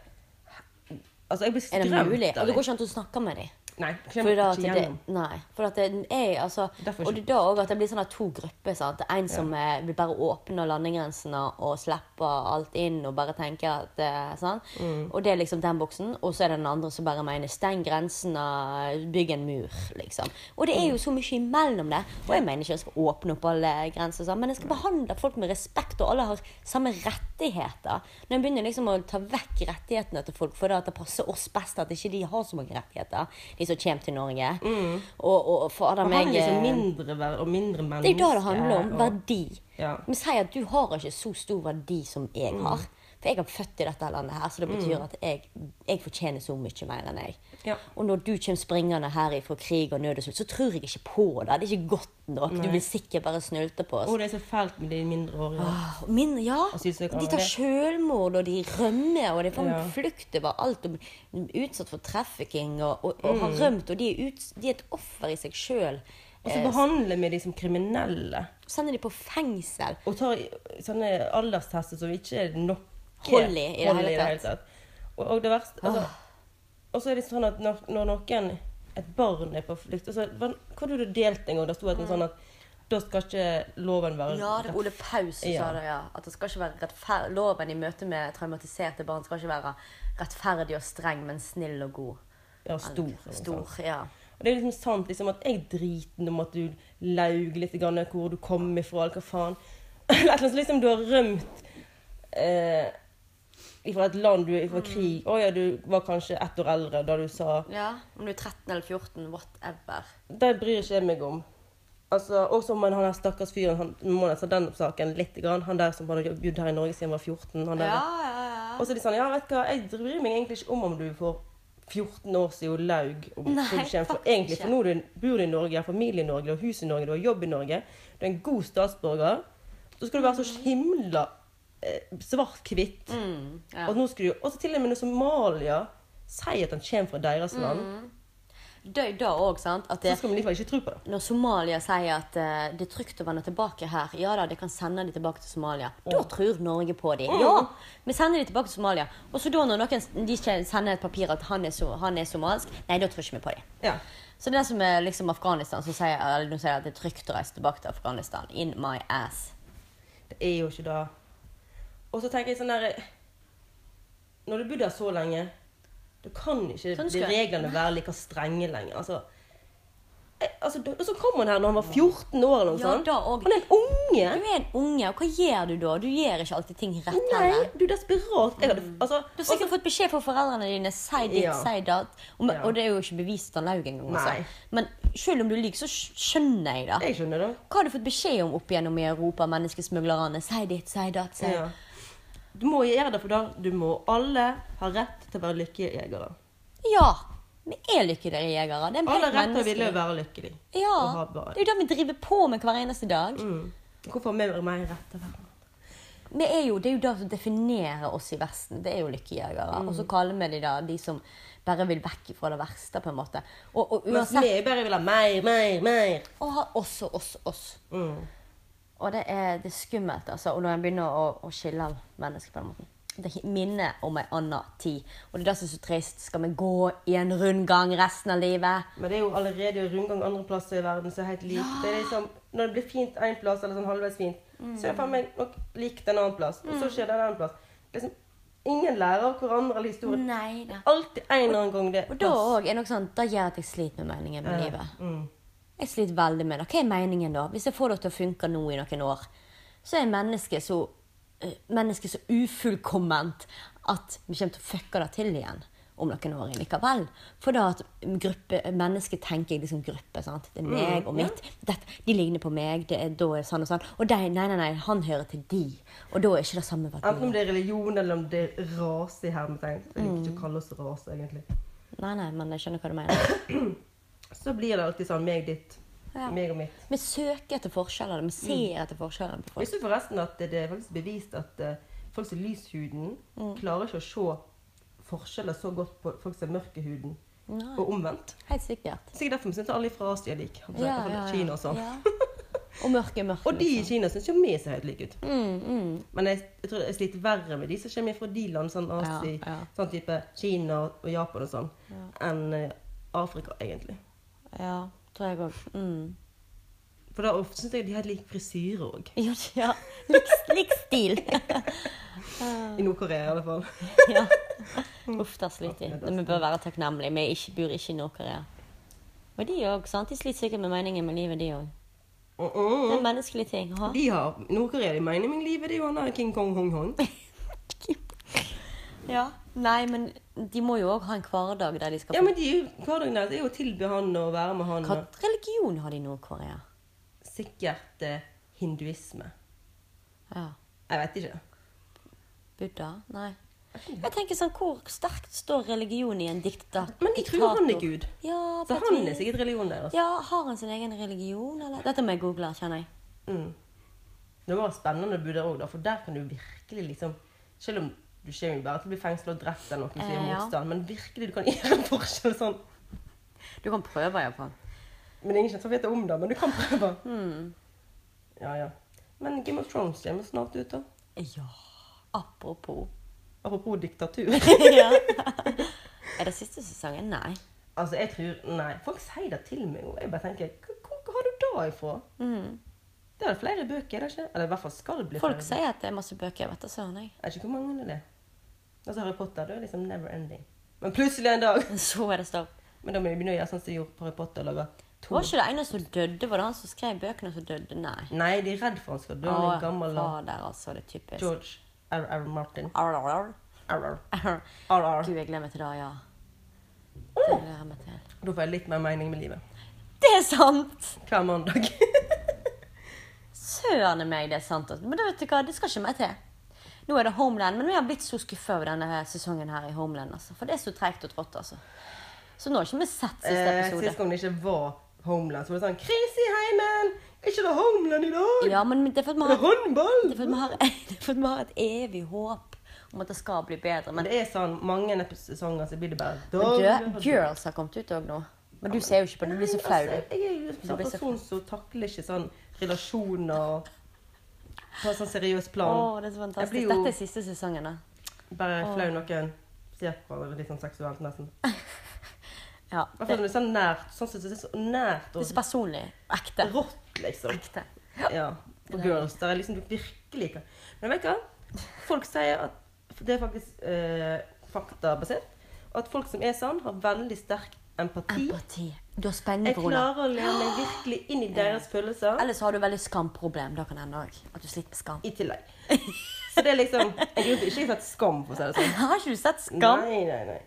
[SPEAKER 3] Altså, jeg blir
[SPEAKER 2] Er
[SPEAKER 3] skremt.
[SPEAKER 2] det mulig?
[SPEAKER 3] av
[SPEAKER 2] Og det går
[SPEAKER 3] det.
[SPEAKER 2] ikke an å snakke med dem.
[SPEAKER 3] Nei,
[SPEAKER 2] For
[SPEAKER 3] kommer
[SPEAKER 2] da at
[SPEAKER 3] ikke
[SPEAKER 2] det,
[SPEAKER 3] gjennom.
[SPEAKER 2] nei, for at det er altså
[SPEAKER 3] Derfor
[SPEAKER 2] Og det er da også at det blir sånn at to grupper. sant? En som eh, vil bare åpne landegrensene og slippe alt inn og bare tenke at eh, sant?
[SPEAKER 3] Mm.
[SPEAKER 2] Og det er liksom den boksen. Og så er det den andre som bare mener steng grensene, bygg en mur, liksom. Og det
[SPEAKER 3] Mm.
[SPEAKER 2] er jo så mye imellom det. Og jeg mener ikke jeg skal åpne opp alle grenser, sant? men jeg skal behandle folk med respekt, og alle har samme rettigheter. Når jeg begynner liksom å ta vekk rettighetene til folk fordi at det passer oss best at ikke de har så mange rettigheter, de som kommer til Norge. Og, og fader
[SPEAKER 3] Mm. Og han
[SPEAKER 2] meg
[SPEAKER 3] er liksom
[SPEAKER 2] eh,
[SPEAKER 3] mindre verd og mindre
[SPEAKER 2] Det
[SPEAKER 3] menneske.
[SPEAKER 2] er da det handler om.
[SPEAKER 3] og-
[SPEAKER 2] Verdi.
[SPEAKER 3] Ja. Mm.
[SPEAKER 2] Men si at du har ikke så stor verdi som jeg har. For jeg er født i dette landet her, så det betyr at jeg, jeg fortjener så mye mer enn jeg.
[SPEAKER 3] Ja.
[SPEAKER 2] Og når du kommer springende her ifra krig og nød og sult, så tror jeg ikke på det. Det er ikke godt nok. Du vil sikkert bare snulte på oss.
[SPEAKER 3] Og det er så fælt med de mindreårige.
[SPEAKER 2] Ah, Min, ja.
[SPEAKER 3] Asylsøkerne,
[SPEAKER 2] De tar
[SPEAKER 3] det.
[SPEAKER 2] selvmord, og de rømmer, og de får
[SPEAKER 3] Ja.
[SPEAKER 2] flukt over alt. Og blir utsatt for trafficking, og, og, og har rømt. Og de er, ut, de er et offer i seg sjøl.
[SPEAKER 3] Mm. Og så behandler vi de som kriminelle.
[SPEAKER 2] Eh, Sender de på fengsel.
[SPEAKER 3] Og tar i- sånne alderstester som ikke er nok
[SPEAKER 2] Hold i, i det
[SPEAKER 3] hold
[SPEAKER 2] hele tatt. Ah.
[SPEAKER 3] Og, og det verste altså, Og så er det sånn at når, når noen et barn er på flukt altså, hva, hva hadde du delt en gang? Det sto at en sånn at da skal ikke loven være
[SPEAKER 2] Mm. Ja, det er Ole Paus som
[SPEAKER 3] Ja.
[SPEAKER 2] sa det, ja. At det skal ikke være rettfer- loven i møte med traumatiserte barn skal ikke være rettferdig og streng, men snill og god.
[SPEAKER 3] ja, stor. eller noe sånt.
[SPEAKER 2] Stor, ja.
[SPEAKER 3] Og det er liksom sant liksom, at jeg driter om at du laug litt grann, hvor du kom ifra, eller hva faen. Eller et eller annet som liksom du har rømt eh, ifra et land, du er ifra
[SPEAKER 2] Mm.
[SPEAKER 3] krig. Å ja, du var kanskje ett år eldre da du sa
[SPEAKER 2] ja. Om du er 13 eller 14, whatever.
[SPEAKER 3] Det bryr ikke jeg meg om. Altså, også om han han der stakkars fyren han, Vi må nesten ta den saken litt. Grann. Han der som hadde bodd her i Norge siden han var 14. Han
[SPEAKER 2] Ja,
[SPEAKER 3] der.
[SPEAKER 2] ja, ja.
[SPEAKER 3] Og så er de sånn Ja, vet du hva, jeg bryr meg egentlig ikke om om du får 14 år siden laug om
[SPEAKER 2] Nei,
[SPEAKER 3] hvor du kommer fra.
[SPEAKER 2] faktisk
[SPEAKER 3] Egentlig,
[SPEAKER 2] ikke.
[SPEAKER 3] for nå er du, bor du i Norge, har familie i Norge, du har hus i Norge, du har jobb i Norge. Du er en god statsborger. Så skal du være så himla eh, svart-hvitt.
[SPEAKER 2] Mm, ja. Mm.
[SPEAKER 3] Og nå skal du Og så til og med når Somalia sier at han kommer fra deres land.
[SPEAKER 2] Det da òg, sant? At
[SPEAKER 3] Så
[SPEAKER 2] det,
[SPEAKER 3] skal man likevel ikke tro på det.
[SPEAKER 2] når Somalia sier at eh, det er trygt å vende tilbake her, ja da, de kan sende de tilbake til Somalia. Da tror Norge på de. Ja, vi sender de tilbake til Somalia. Og så da når noen de ikke sender et papir at han er, so han er somalisk, nei, da tror ikke vi på de.
[SPEAKER 3] Ja.
[SPEAKER 2] Så det er som er liksom Afghanistan, som sier, eller, nå sier jeg at det er trygt å reise tilbake til Afghanistan. In my ass.
[SPEAKER 3] Det er jo ikke det. Og så tenker jeg sånn der Når du har bodd her så lenge, da kan ikke
[SPEAKER 2] Sånn
[SPEAKER 3] de
[SPEAKER 2] skal-
[SPEAKER 3] reglene være like strenge lenger. Altså, jeg, altså, da- og så kom han her når han var 14 år eller noe
[SPEAKER 2] Ja,
[SPEAKER 3] sånt.
[SPEAKER 2] da og-
[SPEAKER 3] Han er en unge!
[SPEAKER 2] Du er en unge, og hva gjør du da? Du gjør ikke alltid ting rett
[SPEAKER 3] Nei,
[SPEAKER 2] heller.
[SPEAKER 3] du er desperat. Jeg hadde, altså,
[SPEAKER 2] Du har sikkert fått beskjed fra foreldrene dine si ditt,
[SPEAKER 3] Ja.
[SPEAKER 2] si datt. Og, men-
[SPEAKER 3] Ja.
[SPEAKER 2] og det er jo ikke bevist han laug engang. Altså.
[SPEAKER 3] Nei.
[SPEAKER 2] Men selv om du lyver, så skj- skjønner jeg
[SPEAKER 3] også-
[SPEAKER 2] det.
[SPEAKER 3] altså, jeg skjønner det.
[SPEAKER 2] Hva har du fått beskjed om opp igjennom i Europa, menneskesmuglerne? Si ditt, si datt, si
[SPEAKER 3] Ja. Du må gjøre det, for da du må alle ha rett til å være lykkejegere.
[SPEAKER 2] Ja! Vi er lykkeligere-jegere. Det er en
[SPEAKER 3] Alle
[SPEAKER 2] helt
[SPEAKER 3] har rett til å
[SPEAKER 2] menneskelig-
[SPEAKER 3] ville være lykkelig.
[SPEAKER 2] Ja.
[SPEAKER 3] og ha barn.
[SPEAKER 2] Det er jo det vi driver på med hver eneste dag.
[SPEAKER 3] Mm. Hvorfor har vi mer rett til å være
[SPEAKER 2] Vi er jo, det er jo det som definerer oss i Vesten. Det er jo lykkejegere. Og så kaller vi de da de som bare vil vekk fra det verste, på en måte. Og, og
[SPEAKER 3] Mens
[SPEAKER 2] uansett
[SPEAKER 3] vi bare vil ha mer, mer, mer.
[SPEAKER 2] Og har oss og oss og oss.
[SPEAKER 3] Mm.
[SPEAKER 2] Og det er, det er skummelt, altså. Og når en begynner å, å skille av mennesker på den måten. Det minner om ei anna tid. Og det er det som er så trist. Skal vi gå i en rundgang resten av livet?
[SPEAKER 3] Men det er jo allerede rundgang andre plasser i verden som er helt lik. Det er liksom, når det blir fint en plass, eller sånn halvveis fint, så er det faen meg nok likt en annen plass.
[SPEAKER 2] Mm.
[SPEAKER 3] Og så skjer det en annen plass. Liksom, ingen lærer av hverandre eller historien.
[SPEAKER 2] Nei da.
[SPEAKER 3] Alltid en eller annen gang det
[SPEAKER 2] Og da òg er det noe sånn, da gjør at jeg sliter med meningen med livet.
[SPEAKER 3] Mm.
[SPEAKER 2] Jeg sliter veldig med det. Hva er meningen da? Hvis jeg får det til å funke nå i noen år, så er mennesket så, eh, mennesket så ufullkomment at vi kommer til å fucke det til igjen om noen år likevel. For da at gruppe, mennesket tenker jeg liksom gruppe, sant? Det er meg og mitt. Dette, de ligner på meg, det er, da er sånn og sånn. Og de, nei, nei, nei, han hører til de. Og da er ikke det samme
[SPEAKER 3] Enten
[SPEAKER 2] verdi.
[SPEAKER 3] om det er religion, eller om det er rase i hermetegn. Jeg liker
[SPEAKER 2] Mm.
[SPEAKER 3] ikke å kalle oss rase, egentlig.
[SPEAKER 2] Nei, nei, men jeg skjønner hva du mener.
[SPEAKER 3] Så blir det alltid sånn meg, ditt,
[SPEAKER 2] Ja.
[SPEAKER 3] meg og mitt.
[SPEAKER 2] Vi søker etter forskjeller, vi ser etter forskjeller på folk.
[SPEAKER 3] Visste du forresten at det er faktisk bevist at eh, folk som er lyshuden,
[SPEAKER 2] Mm.
[SPEAKER 3] klarer ikke å se forskjeller så godt på folk som er mørkehuden,
[SPEAKER 2] Nei.
[SPEAKER 3] og omvendt?
[SPEAKER 2] Helt sikkert.
[SPEAKER 3] Sikkert derfor syns alle fra Asia er like. Altså, altså, Kina og sånn.
[SPEAKER 2] Ja. Og mørke er mørke.
[SPEAKER 3] Og de i
[SPEAKER 2] liksom.
[SPEAKER 3] Kina syns jo vi ser helt like ut.
[SPEAKER 2] mm, mm.
[SPEAKER 3] Men jeg, jeg tror jeg sliter verre med de som kommer fra de land, sånn Asi,
[SPEAKER 2] Ja, ja.
[SPEAKER 3] sånn type Kina og Japan og sånn, enn eh, Afrika, egentlig.
[SPEAKER 2] Ja, tror jeg òg. Mm.
[SPEAKER 3] For da syns jeg de har helt lik frisyre òg.
[SPEAKER 2] Ja, ja. Lik, lik stil.
[SPEAKER 3] I Nord-Korea, i alle fall.
[SPEAKER 2] ja. Uff, der sliter de. Men Vi bør være takknemlige. Vi er ikke, bor ikke i Nord-Korea. Og de òg, sant. De sliter sikkert med meningen med livet, de òg.
[SPEAKER 3] Mm
[SPEAKER 2] Det er en
[SPEAKER 3] -mm.
[SPEAKER 2] menneskelig ting. Ha?
[SPEAKER 3] De har Nord-Korea de mener med livet, det er jo han der King Kong Hong-Hong.
[SPEAKER 2] Ja. Nei, men de må jo òg ha en hverdag der de skal
[SPEAKER 3] Ja, men de, er jo- hverdagen deres er jo å tilby han og være med han.
[SPEAKER 2] Hva
[SPEAKER 3] Og
[SPEAKER 2] religion har de i Nord-Korea?
[SPEAKER 3] sikkert eh, hinduisme.
[SPEAKER 2] Ja.
[SPEAKER 3] Jeg vet ikke.
[SPEAKER 2] Buddha? Nei. Jeg tenker sånn, Hvor sterkt står religion i en diktator?
[SPEAKER 3] Men de tror han er Gud.
[SPEAKER 2] Ja,
[SPEAKER 3] Så
[SPEAKER 2] på et
[SPEAKER 3] han er
[SPEAKER 2] vis.
[SPEAKER 3] sikkert altså. religionen deres.
[SPEAKER 2] Ja, Har han sin egen religion, eller? Dette må jeg google, kjenner jeg.
[SPEAKER 3] Mm. Det var spennende å bo der òg, da, for der kan du virkelig liksom Selv om du kommer jo bare til å bli fengsla og drept eller noe hvis du gjør
[SPEAKER 2] Eh, ja.
[SPEAKER 3] motstand, men virkelig, du kan gjøre en forskjell sånn.
[SPEAKER 2] Du kan prøve, iallfall.
[SPEAKER 3] Men det er ingen som vet om det, men du kan prøve.
[SPEAKER 2] Hmm.
[SPEAKER 3] Ja, ja. Men Game of Thrones kommer snart ut, da.
[SPEAKER 2] Ja. Apropos.
[SPEAKER 3] Apropos diktatur.
[SPEAKER 2] ja. Er det siste sesongen? Nei.
[SPEAKER 3] altså, jeg tror Nei, folk sier det til meg, og jeg bare tenker "Hvor- Hvor hvor har du det ifra? Det er det flere bøker, er det ikke? Eller i hvert fall skal det bli
[SPEAKER 2] Hmm. Folk
[SPEAKER 3] flere.
[SPEAKER 2] sier at det er masse bøker. Jeg vet da søren, jeg.
[SPEAKER 3] Jeg vet ikke hvor mange det er. Altså, Harry Potter det er liksom never ending. Men plutselig en dag
[SPEAKER 2] Men Så er det stopp.
[SPEAKER 3] Men da må vi begynne å gjøre sånn som de gjorde på Harry Potter. Lage to.
[SPEAKER 2] Var ikke det ene som døde? Var det han som skrev bøkene, som døde? Nei.
[SPEAKER 3] Nei, de er redd for han skal dø. Han
[SPEAKER 2] Å,
[SPEAKER 3] er gammel og
[SPEAKER 2] fader, altså. Det er typisk.
[SPEAKER 3] George R. R. Martin.
[SPEAKER 2] Arr, arr, arr.
[SPEAKER 3] R. R.
[SPEAKER 2] Arr.
[SPEAKER 3] R. R.
[SPEAKER 2] Gud, jeg glemmer til det, ja. Det
[SPEAKER 3] Åh!
[SPEAKER 2] gleder jeg meg til.
[SPEAKER 3] Da får jeg litt mer mening med livet.
[SPEAKER 2] Det er sant!
[SPEAKER 3] Hver mandag.
[SPEAKER 2] Søren meg, det er sant. altså. Men det, vet du hva, det skal ikke meg til. Nå er det Homeland, men vi har blitt så skuffa over denne her sesongen her i Homeland. Altså. For det er så treigt og trått, altså. Så nå har ikke vi sett siste
[SPEAKER 3] Eh,
[SPEAKER 2] episode.
[SPEAKER 3] sist gang det ikke var Homeland, så var det sånn Krise i heimen! Er ikke det Homeland i dag?
[SPEAKER 2] Ja, men det er for at vi
[SPEAKER 3] Er det
[SPEAKER 2] har,
[SPEAKER 3] håndball?
[SPEAKER 2] det er for at vi har, det er for at vi har et evig håp om at det skal bli bedre.
[SPEAKER 3] Men
[SPEAKER 2] Men
[SPEAKER 3] det er sånn mange episoder så blir det bare
[SPEAKER 2] Men
[SPEAKER 3] dag-
[SPEAKER 2] du, Girls har kommet ut òg nå. Men du ser jo ikke på det. Du blir så flau. du.
[SPEAKER 3] Altså, jeg er jo
[SPEAKER 2] Du
[SPEAKER 3] en
[SPEAKER 2] blir så
[SPEAKER 3] person som takler ikke sånn relasjoner på en sånn seriøs
[SPEAKER 2] Å,
[SPEAKER 3] plan.
[SPEAKER 2] det er så
[SPEAKER 3] Jeg
[SPEAKER 2] fantastisk.
[SPEAKER 3] blir
[SPEAKER 2] Dette er
[SPEAKER 3] jo
[SPEAKER 2] siste sesongen, da.
[SPEAKER 3] bare flau når noen ser på hverandre litt sånn seksuelt, nesten.
[SPEAKER 2] Ja,
[SPEAKER 3] I
[SPEAKER 2] det,
[SPEAKER 3] hvert fall når det er sånn nært. Sånn som det er så nært
[SPEAKER 2] det er så
[SPEAKER 3] og
[SPEAKER 2] personlig. Ekte.
[SPEAKER 3] rått, liksom.
[SPEAKER 2] Ekte.
[SPEAKER 3] Ja, på girls. Der er liksom du virkelig kan Men vet du hva? Folk sier at Det er faktisk eh, faktabasert. At folk som er sånn, har veldig sterk empati.
[SPEAKER 2] Empati. Du har spenning
[SPEAKER 3] Jeg
[SPEAKER 2] for henne.
[SPEAKER 3] klarer å leve meg virkelig inn i deres følelser
[SPEAKER 2] Ellers har du veldig skamproblem. Da kan det hende òg. At du sliter med skam.
[SPEAKER 3] i tillegg. Så det er liksom Jeg har ikke sett skam, for å si det sånn.
[SPEAKER 2] Har ikke du sett Skam?
[SPEAKER 3] Nei, nei, nei.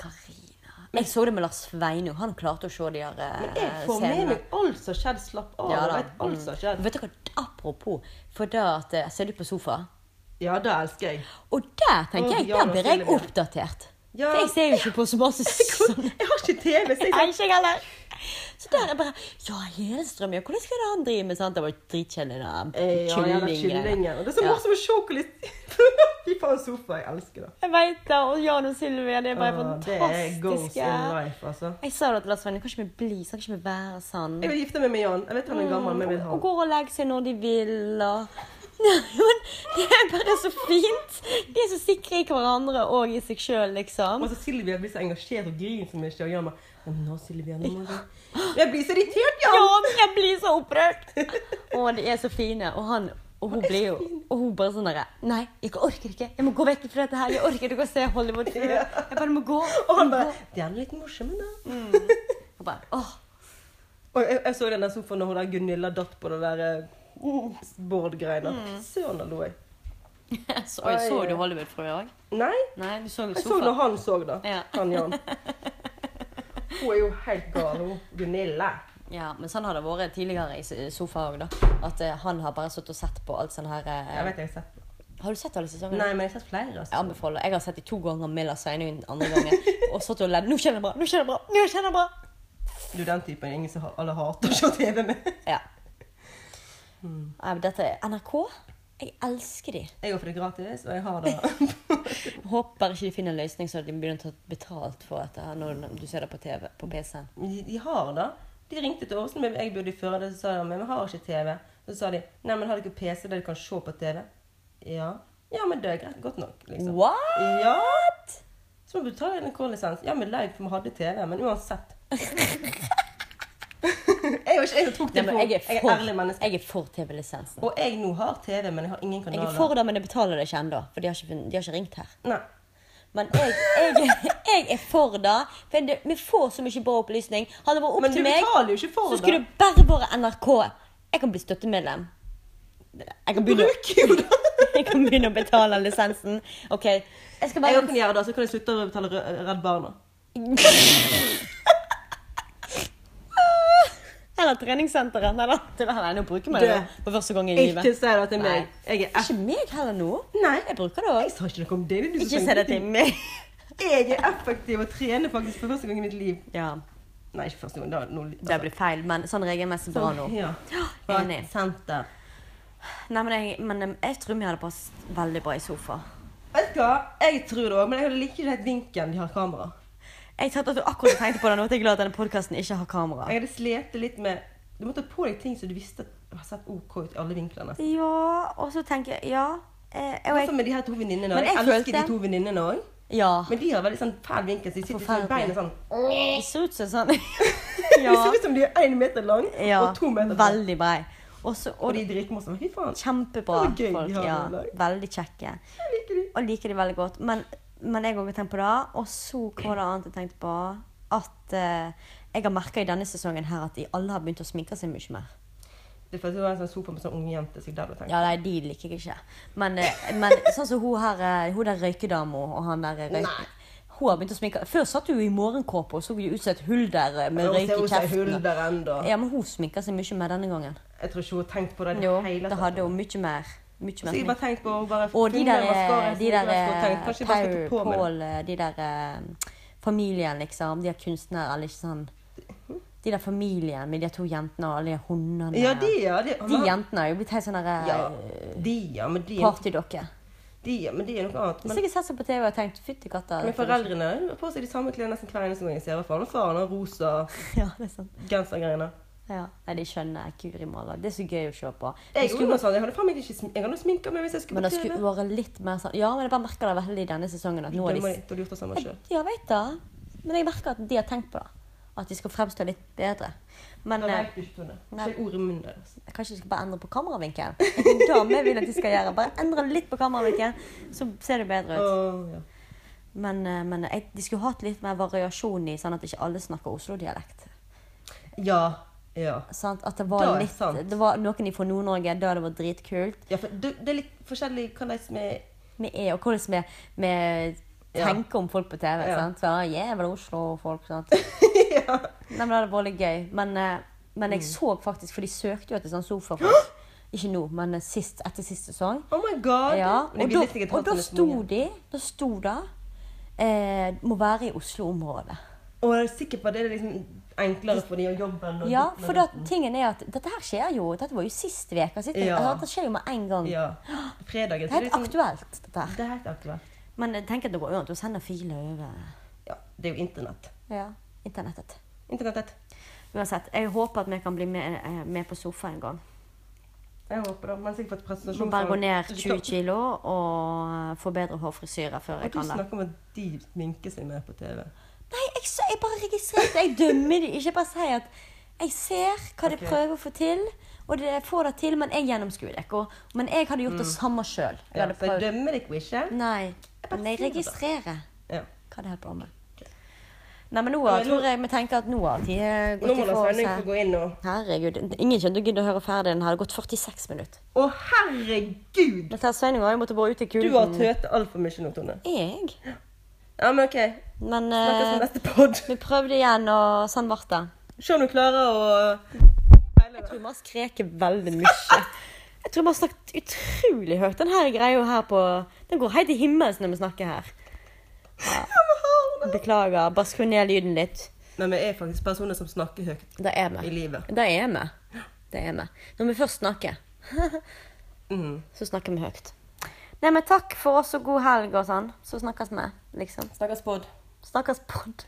[SPEAKER 2] Karina. Jeg så det med Lars Sveinung. Han klarte å se de her eh,
[SPEAKER 3] Men jeg får med
[SPEAKER 2] scenene.
[SPEAKER 3] meg alt som har skjedd. Slapp av.
[SPEAKER 2] Ja
[SPEAKER 3] jeg
[SPEAKER 2] da. Mm.
[SPEAKER 3] vet alt som har skjedd.
[SPEAKER 2] Vet dere, Apropos, for da at eh, Ser du på sofa?
[SPEAKER 3] Ja, det elsker jeg.
[SPEAKER 2] Og der tenker
[SPEAKER 3] Åh,
[SPEAKER 2] jeg,
[SPEAKER 3] ja,
[SPEAKER 2] der
[SPEAKER 3] da
[SPEAKER 2] blir
[SPEAKER 3] skiller
[SPEAKER 2] jeg
[SPEAKER 3] vi.
[SPEAKER 2] oppdatert.
[SPEAKER 3] Ja.
[SPEAKER 2] For jeg ser jo ikke på så masse sånn.
[SPEAKER 3] Jeg har ikke TV, så jeg
[SPEAKER 2] Nei, ikke jeg heller. Så der er bare Ja, Hedestrøm, ja, hvordan skal det han drive med? Sant? Det var jo dritkjedelig, det
[SPEAKER 3] Eh, Ja, jævla
[SPEAKER 2] kyllinggreiene.
[SPEAKER 3] kyllingen. Og det er så
[SPEAKER 2] Ja.
[SPEAKER 3] morsomt med sjokolade. Fy faen, sofa. Jeg elsker det.
[SPEAKER 2] Jeg veit det. Og Jan og Sylvia, det er bare
[SPEAKER 3] Ah, Det er goals
[SPEAKER 2] fantastiske.
[SPEAKER 3] in life, altså.
[SPEAKER 2] Jeg sa det til Lars Svein, kan ikke vi bli sånn? Kan ikke vi være sånn?
[SPEAKER 3] Jeg vil gifte meg med Jan. Jeg vet han er gammel, men jeg vil ha
[SPEAKER 2] Og
[SPEAKER 3] han.
[SPEAKER 2] går og legger seg når de vil. Og... Men det er bare så fint. De er så sikre i hverandre og i seg sjøl, liksom.
[SPEAKER 3] Og så Silvia blir så engasjert og griner så mye. Og Jan bare «Ja, men Nå, Silvia, nå må du Jeg blir så irritert,
[SPEAKER 2] Ja,
[SPEAKER 3] Jan!
[SPEAKER 2] men jeg blir så opprørt! Å, de er så fine. Og han og hun blir jo Og hun bare sånn derre Nei, jeg orker ikke. Jeg må gå vekk fra dette her. Jeg orker ikke å se Hollywood. Jeg bare må gå.
[SPEAKER 3] Og han bare Det er litt morsomt, da.
[SPEAKER 2] Og bare, åh.
[SPEAKER 3] Og jeg, jeg så den der sofaen når hun der Gunilla datt på det der eh, Bård-greiene. Søren, da lo jeg.
[SPEAKER 2] Så, oi, så du Hollywood fra i dag?
[SPEAKER 3] Nei,
[SPEAKER 2] Nei, du så jo
[SPEAKER 3] jeg så når
[SPEAKER 2] sofa.
[SPEAKER 3] han så, da.
[SPEAKER 2] Ja.
[SPEAKER 3] Han Jan. Hun er jo helt gal, hun. Gunilla.
[SPEAKER 2] Ja, men sånn har det vært tidligere i s- sofa òg, da. At eh, han har bare sittet og sett på alt sånn her eh,
[SPEAKER 3] Jeg vet jeg har sett den.
[SPEAKER 2] Har du sett alle sesongene?
[SPEAKER 3] Nei, men jeg har sett flere. altså.
[SPEAKER 2] Jeg anbefaler. Jeg har sett de to ganger med Lars Sveinung den andre gangen. Og satt og ledd. Nå kjenner jeg bra! Nå kjenner jeg bra! Nå kjenner jeg bra!
[SPEAKER 3] Du, den typen er ingen som ha- alle hater å se TV med.
[SPEAKER 2] Ja.
[SPEAKER 3] Hmm.
[SPEAKER 2] Nei, men Dette er NRK. Jeg elsker de.
[SPEAKER 3] Jeg går for det gratis, og jeg har det.
[SPEAKER 2] Håper ikke de finner en løsning så de begynner å ta betalt for dette her når du ser det på TV, på PC-en.
[SPEAKER 3] De, de har det. De ringte til Åsen, men jeg bodde i Førde, så sa de men vi har ikke TV. Så sa de nei, men har dere PC der du kan se på TV? Ja. Ja, men det er greit. Godt nok, liksom.
[SPEAKER 2] What?!
[SPEAKER 3] Ja! Så må vi betale NRK-lisens. Ja, men live, for vi hadde TV. Men uansett. jeg var ikke jeg
[SPEAKER 2] Nei, men
[SPEAKER 3] som tok telefonen.
[SPEAKER 2] jeg er
[SPEAKER 3] jeg er
[SPEAKER 2] for,
[SPEAKER 3] ærlig menneske.
[SPEAKER 2] jeg er for TV-lisensen.
[SPEAKER 3] Og jeg nå har TV, men jeg har ingen
[SPEAKER 2] Jeg er
[SPEAKER 3] kanaler.
[SPEAKER 2] for det, men jeg betaler det ikke ennå. For de har ikke, funnet, de har ikke ringt her.
[SPEAKER 3] Nei.
[SPEAKER 2] Men jeg, jeg, jeg er for det. For det, vi får så mye bra opplysning. Hadde det vært opp
[SPEAKER 3] Men du
[SPEAKER 2] til meg,
[SPEAKER 3] betaler jo ikke for
[SPEAKER 2] så
[SPEAKER 3] det.
[SPEAKER 2] skulle det bare vært NRK. Jeg kan bli støttemedlem. Jeg kan begynne,
[SPEAKER 3] Bruker jo det.
[SPEAKER 2] jeg kan begynne å betale lisensen. OK. Jeg skal
[SPEAKER 3] Jeg
[SPEAKER 2] bare
[SPEAKER 3] kan gjøre det, så kan jeg slutte å betale Rø- Redd Barna.
[SPEAKER 2] Eller treningssenteret. Nei da. Til det her. Nei, nå bruker vi det
[SPEAKER 3] Det-
[SPEAKER 2] for første gang i
[SPEAKER 3] Ikke
[SPEAKER 2] livet.
[SPEAKER 3] si det til
[SPEAKER 2] Nei.
[SPEAKER 3] meg. Jeg er F.
[SPEAKER 2] Ikke meg heller nå.
[SPEAKER 3] Nei,
[SPEAKER 2] Jeg bruker det
[SPEAKER 3] jeg
[SPEAKER 2] òg.
[SPEAKER 3] sa ikke noe om det. det er du som
[SPEAKER 2] Ikke
[SPEAKER 3] sa
[SPEAKER 2] si det til meg.
[SPEAKER 3] Jeg er effektiv og trener faktisk for første gang i mitt liv.
[SPEAKER 2] Ja,
[SPEAKER 3] Nei, ikke første gang. Da, er det noe,
[SPEAKER 2] det blir feil, men sånn regelmessig bra nå.
[SPEAKER 3] Ja.
[SPEAKER 2] Ja, enig.
[SPEAKER 3] Senter.
[SPEAKER 2] Nei, men jeg, men eh, jeg tror vi hadde passet veldig bra i sofa.
[SPEAKER 3] Vet du hva? Jeg tror det òg, men jeg liker ikke helt vinkelen de har kamera.
[SPEAKER 2] Jeg satt og akkurat tenkte på det nå, at jeg er glad at denne podkasten ikke har kamera.
[SPEAKER 3] Jeg hadde slitt litt med Du må ta på deg ting som du visste at har sett OK ut i alle vinklene.
[SPEAKER 2] Ja, og så tenker jeg Ja. Eh, og
[SPEAKER 3] Også
[SPEAKER 2] jeg,
[SPEAKER 3] med de her to venninnene.
[SPEAKER 2] Men
[SPEAKER 3] Jeg,
[SPEAKER 2] jeg
[SPEAKER 3] elsker
[SPEAKER 2] følte-
[SPEAKER 3] de to venninnene òg.
[SPEAKER 2] ja.
[SPEAKER 3] Men de har veldig sånn fæl vinkel, så de sitter sånn
[SPEAKER 2] Forferdelig.
[SPEAKER 3] i beinet sånn.
[SPEAKER 2] Det ser ut som sånn
[SPEAKER 3] Det
[SPEAKER 2] Ja.
[SPEAKER 3] ser ut som de er én meter lang
[SPEAKER 2] ja
[SPEAKER 3] og to meter brei.
[SPEAKER 2] veldig brei. Og så
[SPEAKER 3] Og
[SPEAKER 2] og
[SPEAKER 3] de er dritmorsomme. Fy faen.
[SPEAKER 2] Kjempebra
[SPEAKER 3] Det var gøy,
[SPEAKER 2] folk.
[SPEAKER 3] ja,
[SPEAKER 2] Ja,
[SPEAKER 3] det var gøy.
[SPEAKER 2] veldig kjekke.
[SPEAKER 3] Jeg liker de.
[SPEAKER 2] Og liker de veldig godt. Men, men jeg har også tenkt på det. Og så hva var det annet jeg tenkte på? At eh, jeg har merka i denne sesongen her at de alle har begynt å sminke seg mye mer.
[SPEAKER 3] Det er for at det var en sånn sofa med sånn unge jente, så jeg der ble tenkt.
[SPEAKER 2] Ja, nei, de liker jeg ikke. Men, eh, men sånn som hun her, eh, hun der røykedama og han der eh,
[SPEAKER 3] Nei.
[SPEAKER 2] røyk... Hun har begynt å sminke Før satt hun i morgenkåpe og så jo ut som et hulder eh, med
[SPEAKER 3] Men
[SPEAKER 2] røyk i
[SPEAKER 3] hun seg hull
[SPEAKER 2] kjeften.
[SPEAKER 3] der ennå.
[SPEAKER 2] Ja, men hun sminker seg mye mer denne gangen.
[SPEAKER 3] Jeg tror ikke hun har tenkt på det i det
[SPEAKER 2] Jo,
[SPEAKER 3] hele
[SPEAKER 2] det hadde hun mye mer. Mye
[SPEAKER 3] Så
[SPEAKER 2] mer
[SPEAKER 3] jeg bare tenkte på å bare
[SPEAKER 2] Og de
[SPEAKER 3] funnet
[SPEAKER 2] der, eh,
[SPEAKER 3] mascara som
[SPEAKER 2] de
[SPEAKER 3] jeg
[SPEAKER 2] der
[SPEAKER 3] ikke skulle tenkt. Kanskje jeg bare
[SPEAKER 2] Power
[SPEAKER 3] skal ta på meg det.
[SPEAKER 2] Paul, eh, de der eh, familien, liksom. De er kunstnere, eller ikke sånn De der familien med de to jentene og alle de hundene.
[SPEAKER 3] Ja, de, ja. De,
[SPEAKER 2] De jentene er jo blitt helt sånn derre
[SPEAKER 3] ja, de, ja, men de
[SPEAKER 2] partydokker.
[SPEAKER 3] De, ja, men de er noe annet.
[SPEAKER 2] Hvis
[SPEAKER 3] Men,
[SPEAKER 2] jeg har sett seg på TV og tenkt 'fytti katta'
[SPEAKER 3] men foreldrene har på seg de samme klærne nesten hver eneste gang jeg ser henne. Faren og faren har rosa
[SPEAKER 2] Ja, det er sant.
[SPEAKER 3] gensergreiene.
[SPEAKER 2] Ja. Nei, de skjønner Kuri maler. Det er så gøy å se på. Det
[SPEAKER 3] Jeg,
[SPEAKER 2] skulle-
[SPEAKER 3] skulle... sånn, jeg hadde faen meg ikke sm- jeg hadde sminka meg hvis jeg
[SPEAKER 2] men
[SPEAKER 3] skulle
[SPEAKER 2] det
[SPEAKER 3] på TV.
[SPEAKER 2] skulle vært litt mer sånn Ja, men jeg bare merker det veldig denne sesongen at nå er
[SPEAKER 3] Da må
[SPEAKER 2] de
[SPEAKER 3] jeg- da har du gjort det samme sjøl.
[SPEAKER 2] Ja, jeg vet det. Men jeg merker at de har tenkt på det. At de skal fremstå litt bedre. Men eh, Nei.
[SPEAKER 3] Ikke ordet i munnen deres.
[SPEAKER 2] Jeg Kanskje de skal bare endre på kameravinkelen? Det er Det vi vil at de skal gjøre. Bare endre litt på kameravinkelen, så ser det bedre ut.
[SPEAKER 3] Åh, ja.
[SPEAKER 2] Men, eh, men jeg, de skulle hatt litt mer variasjon i, sånn at ikke alle snakker Oslo-dialekt.
[SPEAKER 3] ja. Ja.
[SPEAKER 2] Sant? At det
[SPEAKER 3] Det
[SPEAKER 2] var
[SPEAKER 3] er
[SPEAKER 2] litt
[SPEAKER 3] sant.
[SPEAKER 2] Det var noen fra Nord-Norge da det var dritkult.
[SPEAKER 3] ja for det, det er litt forskjellig hva de som er
[SPEAKER 2] Vi er, og hvordan vi, vi
[SPEAKER 3] Ja.
[SPEAKER 2] tenker om folk på TV.
[SPEAKER 3] Ja.
[SPEAKER 2] Sant? Så, Jævla Oslo-folk. sant?
[SPEAKER 3] ja.
[SPEAKER 2] Nei, men det hadde vært litt gøy. Men, eh, men jeg så faktisk, for de søkte jo etter sånn sofafolk. Ikke nå, men eh, sist, etter siste sesong.
[SPEAKER 3] Oh my god!
[SPEAKER 2] Ja, og
[SPEAKER 3] Men jeg ville
[SPEAKER 2] da,
[SPEAKER 3] sikkert
[SPEAKER 2] og
[SPEAKER 3] hatt
[SPEAKER 2] da
[SPEAKER 3] sånne
[SPEAKER 2] sto
[SPEAKER 3] små-
[SPEAKER 2] de Da sto det eh, Må være i Oslo-området.
[SPEAKER 3] Og jeg er sikker på at det er liksom enklere for de å jobbe enn å
[SPEAKER 2] Ja,
[SPEAKER 3] ditt
[SPEAKER 2] for da,
[SPEAKER 3] og
[SPEAKER 2] tingen er at dette her skjer jo Dette var jo sist uke. Altså,
[SPEAKER 3] Ja.
[SPEAKER 2] Dette skjer jo med en gang.
[SPEAKER 3] datt. Ja.
[SPEAKER 2] Det
[SPEAKER 3] Fredagen.
[SPEAKER 2] er helt aktuelt, dette her.
[SPEAKER 3] liksom- Det er helt aktuelt.
[SPEAKER 2] Men jeg tenker at det går an å sende filer over
[SPEAKER 3] Ja, det er jo internett.
[SPEAKER 2] ja, internettet.
[SPEAKER 3] Internettet.
[SPEAKER 2] Uansett, jeg håper at vi kan bli med, eh, med på sofa en gang.
[SPEAKER 3] Jeg håper det. Men sikkert fått
[SPEAKER 2] Må
[SPEAKER 3] presentasjon
[SPEAKER 2] bare gå ned
[SPEAKER 3] Du skal-
[SPEAKER 2] 20 kilo og få bedre hårfrisyre før
[SPEAKER 3] Og
[SPEAKER 2] jeg
[SPEAKER 3] du
[SPEAKER 2] kan det.
[SPEAKER 3] snakker om at de sminker seg med på TV.
[SPEAKER 2] Nei, jeg, så, jeg bare registrerte. Jeg dømmer de. Ikke Jeg bare sier at jeg ser hva de
[SPEAKER 3] Ok.
[SPEAKER 2] prøver å få til, og de får det til, men jeg gjennomskuer det ikke. og- Men jeg hadde gjort det Mm. samme sjøl.
[SPEAKER 3] Mm. Ja, så jeg dømmer deg jo ikke.
[SPEAKER 2] Nei, men jeg
[SPEAKER 3] sier det.
[SPEAKER 2] registrerer
[SPEAKER 3] Ja.
[SPEAKER 2] hva det holder på med. Nei, men nå har- tror jeg vi tenker at nå har tida
[SPEAKER 3] Nå
[SPEAKER 2] gått
[SPEAKER 3] må da
[SPEAKER 2] ifra oss.
[SPEAKER 3] Sveinung få
[SPEAKER 2] her.
[SPEAKER 3] gå inn og
[SPEAKER 2] Herregud, ingen kjente å gidde å høre ferdig. Den hadde gått 46 minutter.
[SPEAKER 3] Å, herregud!
[SPEAKER 2] Dette her Sveinung har jo måttet bore ut i
[SPEAKER 3] Du har
[SPEAKER 2] kulden.
[SPEAKER 3] tøt altfor mye nå, Tone.
[SPEAKER 2] Jeg?
[SPEAKER 3] Ja, men OK.
[SPEAKER 2] Men
[SPEAKER 3] Snakkes på
[SPEAKER 2] eh,
[SPEAKER 3] neste pod.
[SPEAKER 2] vi prøvde igjen, og sånn ble det.
[SPEAKER 3] Se om du klarer å
[SPEAKER 2] Jeg tror vi har skreket veldig mye. Jeg tror vi har snakket utrolig høyt. Den her greia her på Den går helt i himmels når vi snakker her. Beklager. Bare skru ned lyden litt.
[SPEAKER 3] Men vi er faktisk personer som snakker høyt
[SPEAKER 2] Det er
[SPEAKER 3] i
[SPEAKER 2] vi.
[SPEAKER 3] livet.
[SPEAKER 2] Det er vi. Det er vi. Når vi først snakker,
[SPEAKER 3] Mm.
[SPEAKER 2] så snakker vi høyt. Nei, men takk for oss og god helg og sånn. Så snakkes vi, liksom.
[SPEAKER 3] Snakkes pod.
[SPEAKER 2] Snakkes pod.